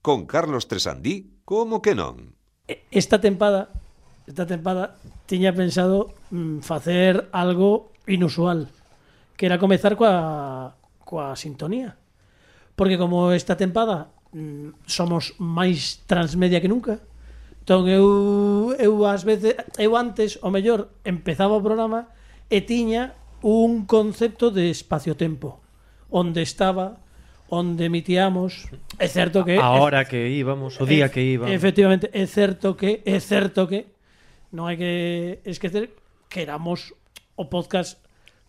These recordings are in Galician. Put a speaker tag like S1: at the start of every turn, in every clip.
S1: Con Carlos Tresandí, como que non?
S2: Esta tempada, esta tempada tiña pensado mm, facer algo inusual, que era comezar coa coa sintonía. Porque como esta tempada mm, somos máis transmedia que nunca, entón eu eu ás veces eu antes, o mellor, empezaba o programa e tiña un concepto de espacio-tempo, onde estaba, onde emitíamos, é certo que
S3: A hora que íbamos, o día
S2: Ef-
S3: que íbamos.
S2: Efectivamente, é certo que é certo que non hai que esquecer que éramos o podcast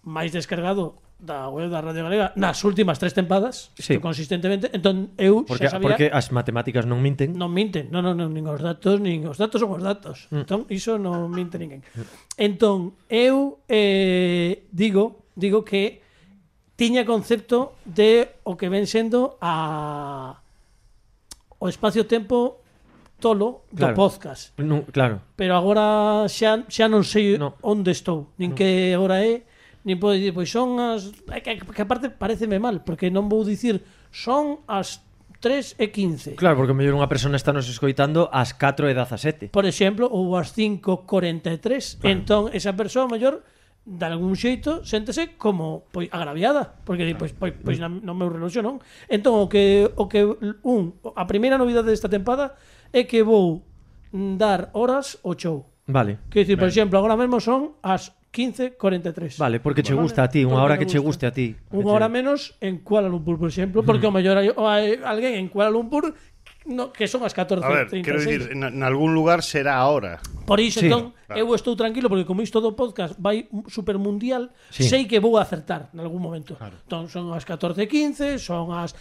S2: máis descargado da web da Radio Galega nas últimas tres tempadas,
S3: Sí.
S2: isto consistentemente. Entón eu
S3: Porque,
S2: xa sabía
S3: porque as matemáticas non minten.
S2: non minten, non, non, non, nin os datos, nin os datos son os datos.
S3: Mm.
S2: Entón iso non minte ninguén. Entón eu eh, digo, digo que tiña concepto de o que ven sendo a o espacio-tempo tolo do
S3: Claro.
S2: podcast.
S3: Non, claro.
S2: Pero agora xa, xa non sei
S3: No. Mm.
S2: onde estou, nin que hora é, nin podo dicir, pois son as... é Que, que aparte pareceme mal, porque non vou dicir son as 3 e 15.
S3: Claro, porque mellor unha persona está nos escoitando ás 4 e 17.
S2: Por exemplo, ou as 5.43, claro. entón esa persoa mellor de algún xeito séntese como pois agraviada, porque di, pois, pois, pois na, no meu reloxo non. Entón o que o que un a primeira novidade desta tempada é que vou dar horas ao show.
S3: Vale.
S2: Que dicir, por exemplo, agora mesmo son as 15.43.
S3: Vale, porque che
S2: Vale,
S3: gusta a ti,
S2: porque
S3: unha hora
S2: me
S3: que che guste
S2: gusta.
S3: a ti. Que
S2: Unha
S3: che-
S2: hora menos en Kuala Lumpur, por exemplo, porque o mellor hai, hai alguén en Kuala Lumpur no, que son as 14.36.
S4: A ver, quero dicir, en, en algún lugar será ahora.
S2: Por iso,
S3: Sí.
S2: sí, entón,
S4: Claro.
S2: eu estou tranquilo porque como isto do podcast vai supermundial,
S3: Sí.
S2: sí. sei que vou acertar en algún momento. Claro. Entón, son as 14.15, son as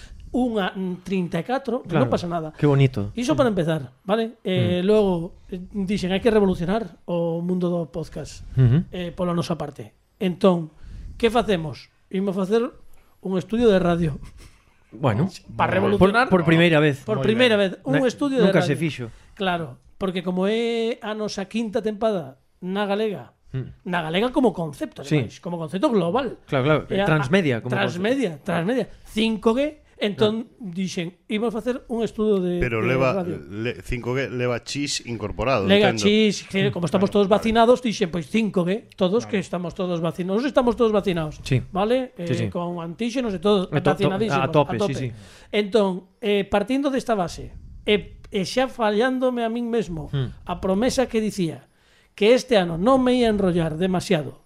S2: 1.34, claro.
S3: Claro.
S2: non pasa nada.
S3: Que bonito.
S2: Iso para empezar, vale? Eh, mm. Logo, eh, dixen, hai que revolucionar o mundo do podcast
S3: Ujú.
S2: eh, pola nosa parte. Entón, que facemos? Imos facer un estudio de radio.
S3: Bueno,
S2: Para revolucionar.
S3: por, por primeira vez.
S2: Por
S4: Moi
S2: primeira vez,
S4: ben.
S2: un
S3: Na-
S2: estudio de
S3: nunca
S2: radio.
S3: se fixo.
S2: Claro, porque como é a nosa quinta tempada na Galega, na Galega como concepto,
S3: Hmm.
S2: ademais,
S3: Sí.
S2: como concepto global.
S3: Claro, claro,
S2: E a-
S3: transmedia como Ah.
S2: transmedia, transmedia. 5G, entón dixen, íbamos facer un estudo de
S4: Pero
S2: de
S4: leva
S2: radio.
S4: le, 5G leva chis incorporado,
S2: Lega,
S4: entendo.
S2: chis, que como estamos todos vacinados, dixen, pois 5G, todos que estamos todos vacinados, estamos todos vacinados,
S3: Sí.
S2: vale? Eh,
S3: Sí, sí.
S2: Con antíxenos e todo,
S3: A to- to-
S2: vacinadísimos,
S3: a tope, sí, sí.
S2: Entón, eh, partindo desta base, e, e xa fallándome a min mesmo,
S3: Hmm.
S2: a promesa que dicía que este ano non me ia enrollar demasiado,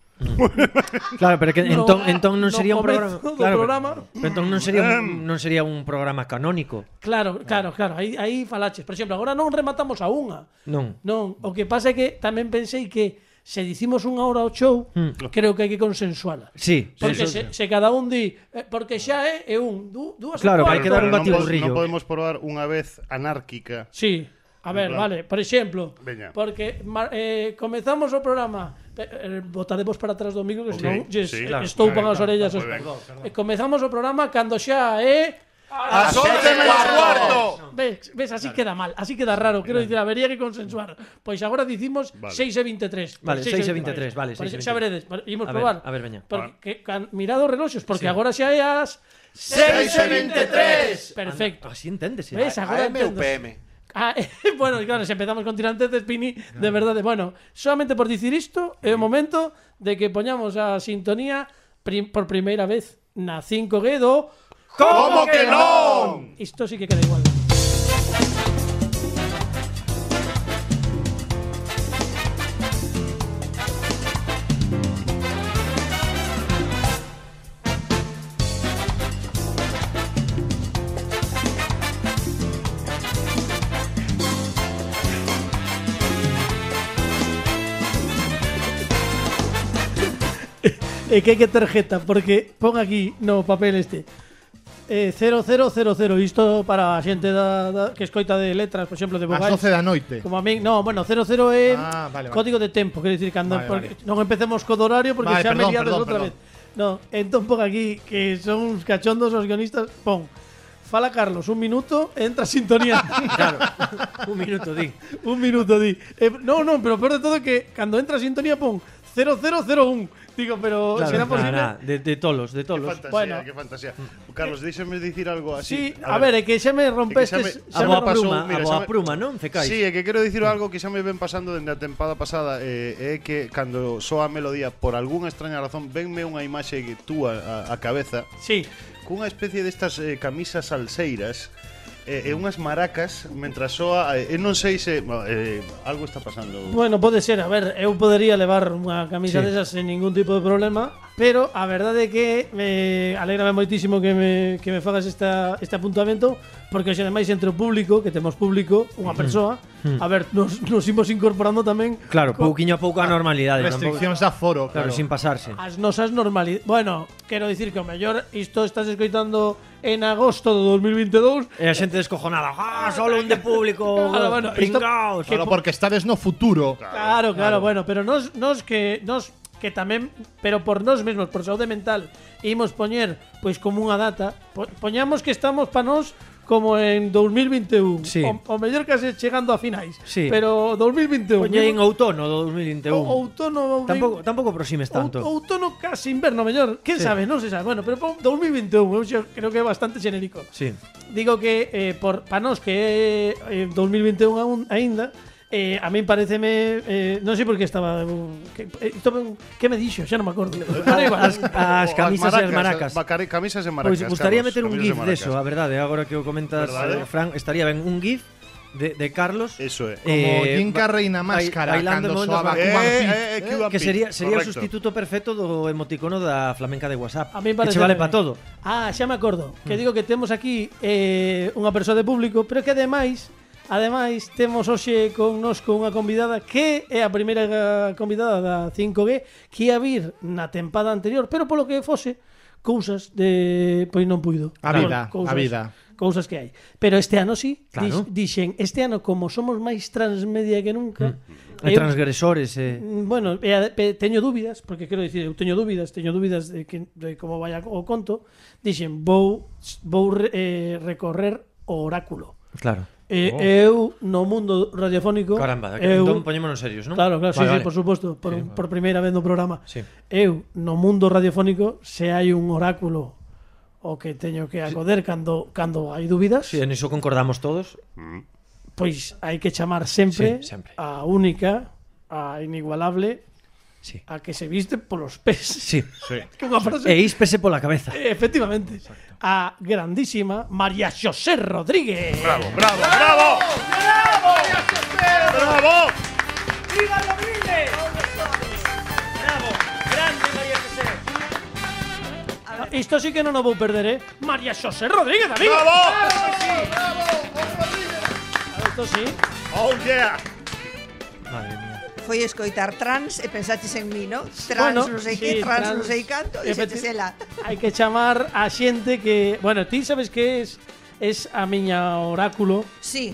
S3: Claro, pero que
S2: No,
S3: entón entón
S2: no
S3: non sería un
S2: comezo
S3: programa,
S2: do
S3: claro,
S2: programa.
S3: Pero, pero entón non sería un, non sería un programa canónico.
S2: Claro, claro, claro, aí, aí falaches. Por exemplo, agora non rematamos a unha.
S3: Non.
S2: Non, o que pasa é que tamén pensei que se dicimos unha hora ao show,
S3: Mm.
S2: creo que hai que consensuala.
S3: Sí,
S2: Porque
S3: sí,
S2: se,
S3: sí.
S2: se cada un di, eh, porque xa é, é un, du, dúas e
S3: Claro, pero hai que dar
S2: cuarto.
S3: un
S4: non po-
S3: batiburrillo.
S4: Non podemos probar unha vez anárquica.
S2: Sí. A ver,
S4: Claro.
S2: vale, por exemplo,
S4: Veña.
S2: porque ma- eh, comezamos o programa, pe- eh, votaremos para atrás domingo que
S4: Ok,
S2: senón lles eh,
S4: sí, claro,
S2: estou para
S4: claro,
S2: as
S4: claro,
S2: orellas.
S4: moi
S2: os-
S4: ben. Perdón,
S2: Eh, comezamos o programa cando xa é
S5: ¡A sete menos cuarto!
S2: Ves, ves, así queda mal, así queda raro. Quiero decir, habría que consensuar. Pois agora dicimos
S4: Vale.
S2: 6 e 23.
S3: Vale, 6 e 23, vale,
S2: Por iso
S3: 6 e
S2: xa veredes,
S3: 23.
S2: por- imos
S3: A ver,
S2: probar.
S3: a ver, veña.
S2: Porque, can, mirad os reloxos, porque
S3: Sí.
S2: agora xa é as...
S5: 6 e 23.
S2: Perfecto.
S3: Así enténdese.
S2: Ves, agora
S5: AM ou
S2: entendo.
S5: PM?
S2: Ah, bueno, claro, se empezamos con tirantes de Spini, de verdade. Bueno, solamente por dicir isto, é o momento de que poñamos a sintonía prim- por primeira vez na 5G do...
S5: Como que non?
S2: Isto sí que queda igual. E que hai que tarjeta, porque pon aquí no papel este. Eh, 0000, isto para a xente da, da, que escoita de letras, por exemplo, de
S6: As
S2: vogais.
S6: 12 da noite.
S2: Como a min, no, bueno, 00 é
S6: Ah, vale, vale.
S2: código de tempo, quero dicir, cando
S6: Vale,
S2: porque non empecemos co do horario porque
S6: Vale,
S2: xa
S6: perdón,
S2: mediados
S6: perdón,
S2: outra vez.
S6: perdón.
S2: No, entón pon aquí que son uns cachondos os guionistas, pon. Fala Carlos, un minuto, entra a sintonía.
S3: Claro. Un minuto di.
S2: un minuto di. Eh, no, no, pero peor de todo é que cando entra a sintonía pon 0001. Digo, pero
S3: Claro,
S2: ¿será
S3: na,
S2: posible?
S3: na, de, de tolos, de
S4: Qué
S3: tolos.
S4: fantasía,
S2: Bueno.
S4: qué fantasía. Carlos, déxame dicir algo así.
S2: Sí, a ver, é que xa me rompeste,
S4: É que xa me-
S2: xa me
S3: A boa
S2: rompeu.
S4: pasou,
S3: pruma,
S4: mira,
S3: a
S4: xa
S3: boa
S4: me-
S3: pruma, non? Fecais.
S4: Sí, é que quero dicir algo que xa me ven pasando dende a tempada pasada eh, É que cando soa a melodía Por algunha extraña razón Venme unha imaxe que túa a, a cabeza
S2: Sí,
S4: Cunha especie destas eh, camisas alseiras eh, E unhas maracas Mentras soa eh, E non sei se ma- eh, Algo está pasando
S2: bueno, pode ser, a ver, eu podería levar unha camisa
S3: Sí.
S2: desas sen ningún tipo de problema, pero a verdade é que me alegrame moitísimo que me, que me fagas esta, este apuntamento, porque hoxe ademais entre o público, que temos público,
S3: Mm-hmm.
S2: unha persoa, a ver, nos, nos imos incorporando tamén
S3: Claro,
S2: co-
S3: pouquiño a pouco a normalidade. tampouco-
S6: Restriccións de aforo,
S3: Claro,
S6: claro.
S3: sin pasarse.
S2: As nosas normalidades Bueno, quero dicir que o mellor Isto estás escoitando en agosto de 2022
S3: E a xente eh, descojonada. Ah, solo un de público.
S2: Claro, bueno, isto-
S3: pringaos.
S6: Solo porque estades no futuro.
S2: Claro, claro, bueno Pero nos, nos que nos que tamén Pero por nos mesmos, por saúde mental Imos poñer, pois como unha data po- Poñamos que estamos pa nos Como en 2021
S3: Sí.
S2: e o, o mellor case chegando a finais
S3: Sí.
S2: Pero 2021
S3: Poñei en outono do 2021.
S2: o, outono
S3: Tampouco, tampouco aproximes tanto.
S2: Ou- Outono casi inverno, mellor. Quen
S3: Sí.
S2: sabe, non se sabe. Bueno, pero pon 2021, e eu xa creo que é bastante xenérico.
S3: Sí.
S2: Digo que eh, por pa nós que é eh, 2021 aún, aínda, eh, a min pareceme, eh, non sei por que estaba eu- que, eh, isto me- que me dixo, xa non me acordo. Bueno, igual.
S3: As, as camisas e as maracas.
S4: as bacare- Camisas e
S3: Pois
S4: maracas
S3: gustaría
S4: Carlos,
S3: meter un
S4: camisas e
S3: gif
S4: maracas.
S3: deso, a verdade, agora eh, que o comentas,
S4: Verdade?
S3: eh, Fran, estaría ben un gif de, de Carlos
S4: Eso é
S6: Como
S3: Eh,
S6: Jim
S3: ba-
S6: Carrey na
S3: bai-
S6: máscara
S3: bailando en
S6: cando soaba
S3: momentos-
S6: Cuban
S4: Eh,
S6: Pete.
S4: eh, eh, Cuban
S3: que sería
S4: Pete,
S3: sería o
S4: correcto.
S3: sustituto perfecto do emoticono da flamenca de WhatsApp.
S2: A mí
S3: que
S2: parece
S3: che vale para todo.
S2: Ah, xa me acordo.
S6: Mm.
S2: Que digo que temos aquí eh, unha persoa de público, pero que ademais Ademais, temos hoxe connosco unha convidada que é a primeira eh, convidada da 5G que ia vir na tempada anterior, pero polo que fose, cousas de... pois non puido.
S6: A vida,
S2: Bueno,
S6: a vida.
S2: Cousas que hai. Pero este ano sí, dix-
S3: Claro.
S2: dixen, este ano como somos máis transmedia que nunca,
S3: E
S6: Mm.
S2: eu-
S3: transgresores eh,
S2: Mm, Bueno, e a- pe- teño dúbidas, porque quero dicir, eu teño dúbidas, teño dúbidas de, que, de como vai o conto, dixen, vou, vou re- eh, recorrer o oráculo.
S3: claro.
S2: E,
S6: Oh.
S2: Eu, no mundo radiofónico,
S3: Caramba,
S2: eu,
S3: entón poñémonos serios,
S2: eh,
S3: non?
S2: Claro, claro, sí, sí,
S3: Vale, vale.
S2: por suposto, por, por primeira vez no programa.
S3: Sí.
S2: Eu, no mundo radiofónico, se hai un oráculo o que teño que acoder cando cando hai dúbidas,
S3: Sí, en iso concordamos todos.
S2: pois hai que chamar sempre,
S3: Sí, sempre.
S2: a única, a inigualable,
S3: Sí.
S2: a que se viste polos pés.
S3: Sí.
S2: Que unha frase.
S3: E íspese pola cabeza.
S2: Eh, Efectivamente. A grandísima María José Rodríguez.
S4: Bravo, bravo, bravo Bravo
S2: Ah, Isto sí que non o vou perder, eh? María José Rodríguez, amigo.
S4: Bravo
S2: Claro, Isto sí.
S4: Oh yeah
S3: Madre mía.
S7: Foi escoitar trans e pensaches en mí, no? Trans
S2: Bueno,
S7: non sei
S2: sí,
S7: que, trans,
S2: trans.
S7: non sei canto, e
S2: Efecti-
S7: xente sela.
S2: Hai que chamar a xente que, bueno, ti sabes que es es a miña oráculo.
S7: Sí,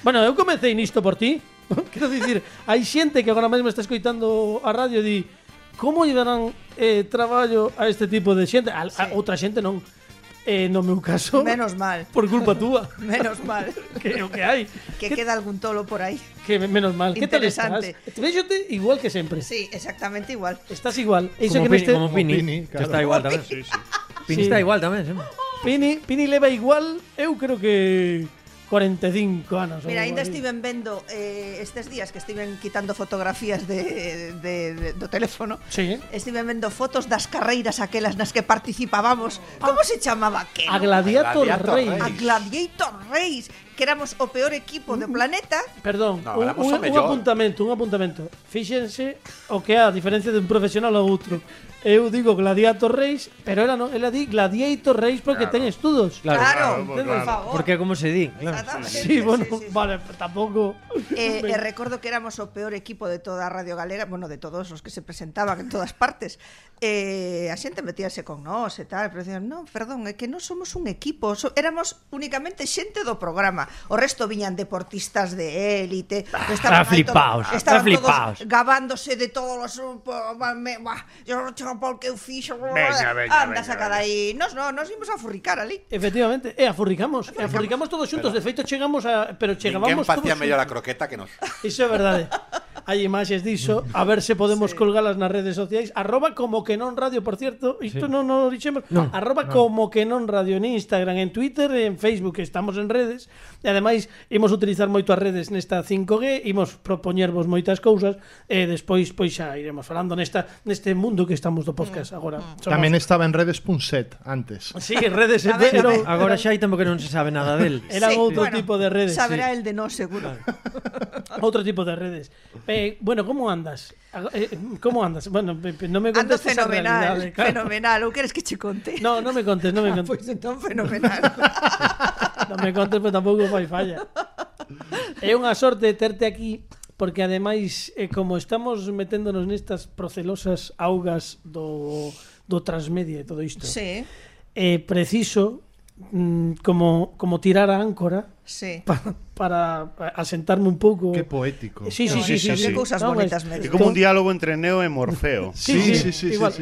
S2: Bueno, eu comecei nisto por ti. Quero dicir, hai xente que agora mesmo está escoitando a radio e di como lle darán eh, traballo a este tipo de xente? A, a
S7: Sí.
S2: outra xente non. Eh, no meu caso,
S7: menos mal,
S2: por culpa túa.
S7: menos mal.
S2: que é o que hai.
S7: Que queda algún tolo por aí.
S2: que me- menos mal. ¿Qué tal estás?
S7: Interesante.
S2: Te veo yo te- igual que siempre.
S7: Sí, exactamente igual.
S2: Estás igual. Eso que
S3: Como
S2: me
S3: Pini,
S2: este-
S3: como Pini,
S6: Pini,
S3: que
S6: claro.
S3: está igual tamén.
S4: Sí, sí
S2: Sí.
S3: Pini está igual tamén, eh. sí.
S2: Pini, Pini leva igual, eu creo que 45 anos.
S7: Mira, ainda
S2: estoy
S7: estiven vendo eh, estes días que estiven quitando fotografías de, de, de, do teléfono
S2: Sí.
S7: Estiven vendo fotos das carreiras aquelas nas que participábamos Como se chamaba que?
S2: A Gladiator,
S5: Gladiator
S2: Rey.
S3: eh.
S5: Rey.
S7: A Gladiator Race Que éramos o peor equipo
S2: Mm.
S7: do planeta
S2: Perdón,
S5: No,
S2: un,
S5: éramos
S2: un-
S5: o
S2: un
S5: mellor.
S2: apuntamento, un apuntamento. Fíxense o que há a diferencia de un profesional ou outro. Eu digo Gladiator Reis, pero ela non, ela di Gladiator Reis porque ten estudos.
S3: Claro.
S7: Claro,
S4: claro,
S7: por
S4: claro.
S7: favor
S3: Porque é como se di, claro.
S7: Exactamente,
S2: Sí, bueno,
S7: sí, sí.
S2: vale, pues pero tampouco.
S7: Eh, e recordo que éramos o peor equipo de toda a Radio Galega, bueno, de todos os que se presentaban en todas partes. Eh, a xente metíase con nós e tal, pero dicían, non, perdón, é que non somos un equipo, so, éramos únicamente xente do programa. O resto viñan deportistas de élite, que estaban,
S3: está
S7: aí todo-
S3: flipaos, está
S7: estaban
S3: flipaos.
S7: todos gabándose de todos os... Eu non chego pol que eu fixo...
S4: Veña, veña,
S7: Anda,
S4: veña,
S7: sacada aí. Nos, non, nos imos a furricar ali.
S2: Efectivamente, e afurricamos, e afurricamos todos xuntos, de feito chegamos a, pero chegábamos
S5: Ninguén facía
S2: todos
S5: mellor a croqueta que nos.
S2: Iso é verdade. hai imaxes diso, a ver se podemos sí. colgalas nas redes sociais, arroba como que non radio, por cierto, isto sí. non no, o dixemos, no, arroba no. como que non radio en Instagram, en Twitter, en Facebook, que estamos en redes, e ademais imos utilizar moito as redes nesta 5G, imos propoñervos moitas cousas, e despois pois xa iremos falando nesta neste mundo que estamos do podcast agora. Somos-
S6: Tamén estaba en redes.set antes.
S2: Sí, redes,
S7: A ver, a
S2: era,
S7: ver.
S3: Agora xa hai tempo que non se sabe nada del.
S2: era
S7: Sí,
S2: outro
S7: bueno,
S2: tipo de redes.
S7: Sabrá el de no, seguro.
S2: Otro tipo de redes. Eh, bueno, ¿cómo andas? Hago- eh, ¿Cómo andas? Bueno, pe- pe- no me
S7: Ando
S2: contestes a
S7: fenomenal,
S2: realidade, claro.
S7: fenomenal. ¿O quieres que che conte?
S2: No, no me contes, no me contes.
S7: Pois entón fenomenal.
S2: No me contes, pero tampouco fai falla. É unha sorte terte aquí porque ademais eh, como estamos meténdonos nestas procelosas augas do do transmedia e todo isto.
S7: sí,
S2: É preciso mm, como como tirar a áncora
S7: sí.
S2: para, para asentarme un pouco.
S6: Qué poético.
S2: Sí, sí, sí, sí,
S4: Qué
S2: sí, sí.
S7: cousas
S2: Vamos,
S7: bonitas me
S4: É
S7: dices.
S4: como un diálogo entre Neo e Morfeo.
S2: Sí, sí, sí, igual.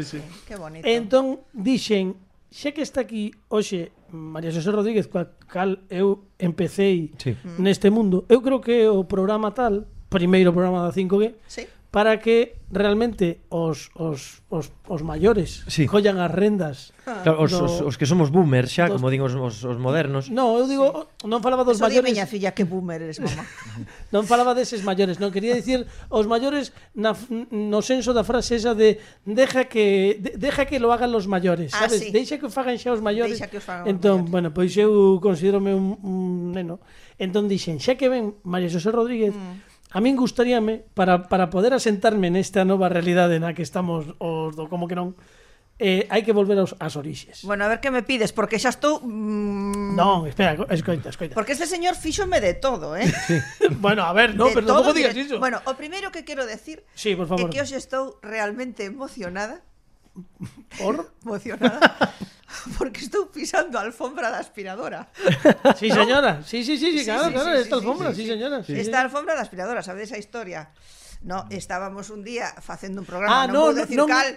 S7: Qué bonito.
S2: Entón, dixen, xa que está aquí hoxe María Xosé Rodríguez, coa cal eu empecéi
S3: Sí.
S2: neste mundo, eu creo que é o programa tal, primeiro programa da 5G,
S7: Sí.
S2: para que realmente os, os, os, os maiores
S3: Sí.
S2: collan as rendas.
S3: Claro, os,
S2: do-
S3: os, os que somos boomers xa,
S2: dos-
S3: como din os, os, os modernos.
S2: No, eu digo, non falaba dos
S7: Eso di
S2: maiores,
S7: miña filla que boomer eres, mamá.
S2: non falaba deses maiores, non quería dicir os maiores na, f- no senso da frase esa de deja que de, deja que lo hagan los maiores,
S7: Ah,
S2: sabes?
S7: sí.
S2: Deixa que o fagan xa os maiores.
S7: Deixa que os fagan os
S2: entón,
S7: maiores.
S2: bueno, pois eu considérome un, un neno. Entón dixen, xa que ven María José Rodríguez, mm. a min gustaríame para, para poder asentarme nesta nova realidade na que estamos os do como que non, eh, hai que volver aos, ás orixes.
S7: Bueno, a ver que me pides, porque xa estou... mm,
S2: Non, espera, escoita, escoita.
S7: Porque este señor fíxome de todo, eh?
S2: bueno, a ver, no,
S7: De
S2: pero tampouco
S7: todo,
S2: digas
S7: dire-
S2: iso.
S7: Bueno, o primeiro que quero decir
S2: Sí, por
S7: é
S2: favor.
S7: que hoxe estou realmente emocionada
S2: Por?
S7: emocionada porque estou pisando a alfombra da aspiradora.
S2: Sí, señora. Sí, sí, sí, sí,
S7: Sí,
S2: claro,
S7: sí,
S2: claro,
S7: sí,
S2: esta
S7: sí,
S2: alfombra,
S7: sí,
S2: sí,
S7: sí.
S2: señora. sí,
S7: Esta
S2: señora.
S7: alfombra da aspiradora, sabedes a historia? No, estábamos un día facendo un programa,
S2: Ah,
S7: non
S2: no,
S7: vou
S2: no,
S7: decir
S2: non me-
S7: cal.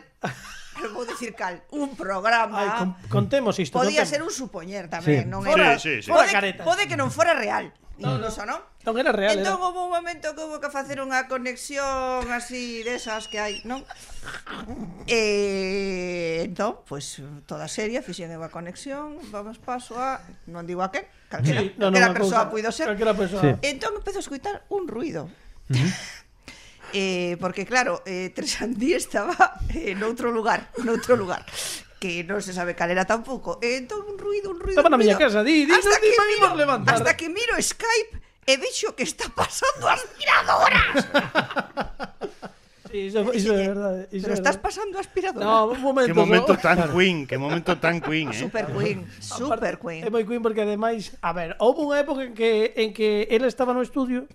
S7: Non vou decir cal, un programa.
S2: Ai, con- contemos isto.
S7: Podía
S2: contemos.
S7: ser un supoñer
S3: Sí.
S7: tamén, non
S4: Sí,
S7: era.
S4: sí, sí.
S2: Fora
S7: Pode,
S2: caretas.
S7: pode que non fora real, incluso, non?
S2: Non era Mm. real,
S7: entón
S2: era.
S7: houve un momento que houve que facer unha conexión así desas que hai, non? E entón, pois pues, toda seria, fixen eu a conexión, vamos paso a, non digo a quen, calquera,
S2: Sí,
S7: sí,
S2: non, non,
S7: calquera
S2: unha
S7: persoa
S2: cousa,
S7: puido ser.
S2: Calquera persoa.
S3: Sí.
S7: Entón empezo a escutar un ruido. eh, porque claro, eh, Tresandí estaba eh, noutro lugar, noutro lugar que non se sabe cal era tampouco. E entón un ruido, un ruido.
S2: Estaba
S7: un
S2: na miña
S7: ruido.
S2: casa, di, di,
S7: Hasta
S2: non di,
S7: que
S2: pa mí
S7: miro-
S2: por levantar.
S7: Hasta que miro Skype e vexo que está pasando a aspiradora.
S2: Sí, iso, iso é verdade. Iso é
S7: Pero estás
S2: verdade.
S7: pasando a aspiradora.
S2: No, un momento.
S4: Qué momento
S2: só.
S4: tan queen, qué momento tan queen, eh.
S7: Super Queen, Super Queen.
S2: É moi Queen porque ademais, a ver, houve unha época en que en que ela estaba no estudio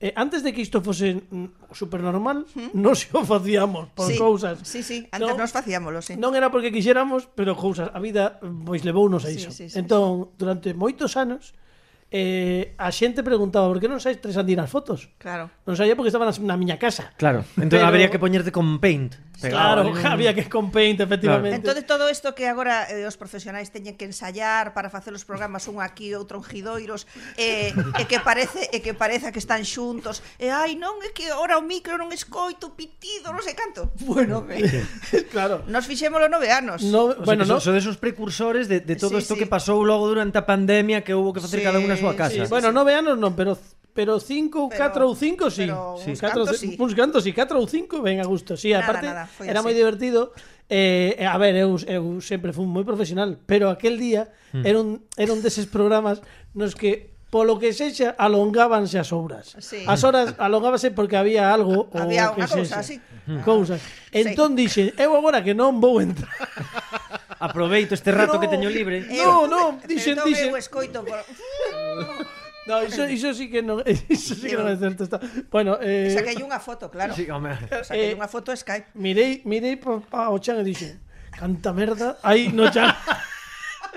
S2: Eh, antes de que isto fose mm, supernormal, non se o facíamos por
S7: sí,
S2: cousas.
S7: Sí, sí,
S2: Non-
S7: antes nos facíamoslo, sí.
S2: Non era porque quixéramos, pero cousas, a vida pois levounos a
S7: Sí,
S2: iso.
S7: sí, sí,
S2: entón, durante moitos anos, eh, a xente preguntaba por que non sais tres andinas fotos?
S7: Claro.
S2: Non saía porque estaban nas- na miña casa.
S3: Claro, entón
S2: Pero-
S3: habría que poñerte con paint.
S2: Claro,
S3: Pegado,
S2: claro había que con paint, efectivamente.
S7: Entonces todo isto que agora eh, os profesionais teñen que ensayar para facer os programas un aquí, outro en Gidoiros, eh, e que parece e que pareza que están xuntos. E ai, non é que ora o micro non escoito pitido, non sei canto. Bueno, me,
S2: claro.
S7: nos fixémolo nove anos.
S2: No,
S3: O
S2: bueno,
S3: bueno,
S2: no.
S3: so, so desos precursores de, de todo
S7: Sí,
S3: isto
S7: sí.
S3: que pasou logo durante a pandemia que houbo que facer
S7: Sí,
S3: cada unha a súa
S2: Sí,
S3: casa.
S7: sí, sí,
S2: bueno, nove anos non, pero pero 5, 4 ou
S7: Pero-
S2: 5 sí.
S7: pero uns
S2: Catro,
S7: cantos,
S2: ci-
S7: sí.
S2: Uns cantos sí, 4 ou 5 ben a gusto. Sí,
S7: Nada,
S2: aparte
S7: nada, foi
S2: era
S7: así.
S2: moi divertido. Eh, a ver, eu, eu sempre fui moi profesional, pero aquel día
S7: Hmm.
S2: era un era un deses programas nos que polo que sexa alongábanse as obras.
S7: Sí.
S2: As horas alongábase porque había algo
S7: Había
S2: o oh, que
S7: unha cousa,
S2: sexa.
S7: sí.
S2: Cousas. Entón dixen, eu agora que non vou entrar
S3: Aproveito este rato
S2: No.
S3: que teño libre.
S2: Eh, No, no, dixen,
S7: entón
S2: dixen.
S7: Eu escoito por...
S2: No, iso, iso sí que non, iso sí que non é certo está. Bueno, eh,
S7: Esa que hai unha foto, claro.
S3: Sí, home.
S7: Esa que hai
S2: eh,
S7: unha foto de Skype.
S2: mirei, mirei pa, pa o chan e dixen, canta merda, aí no chan.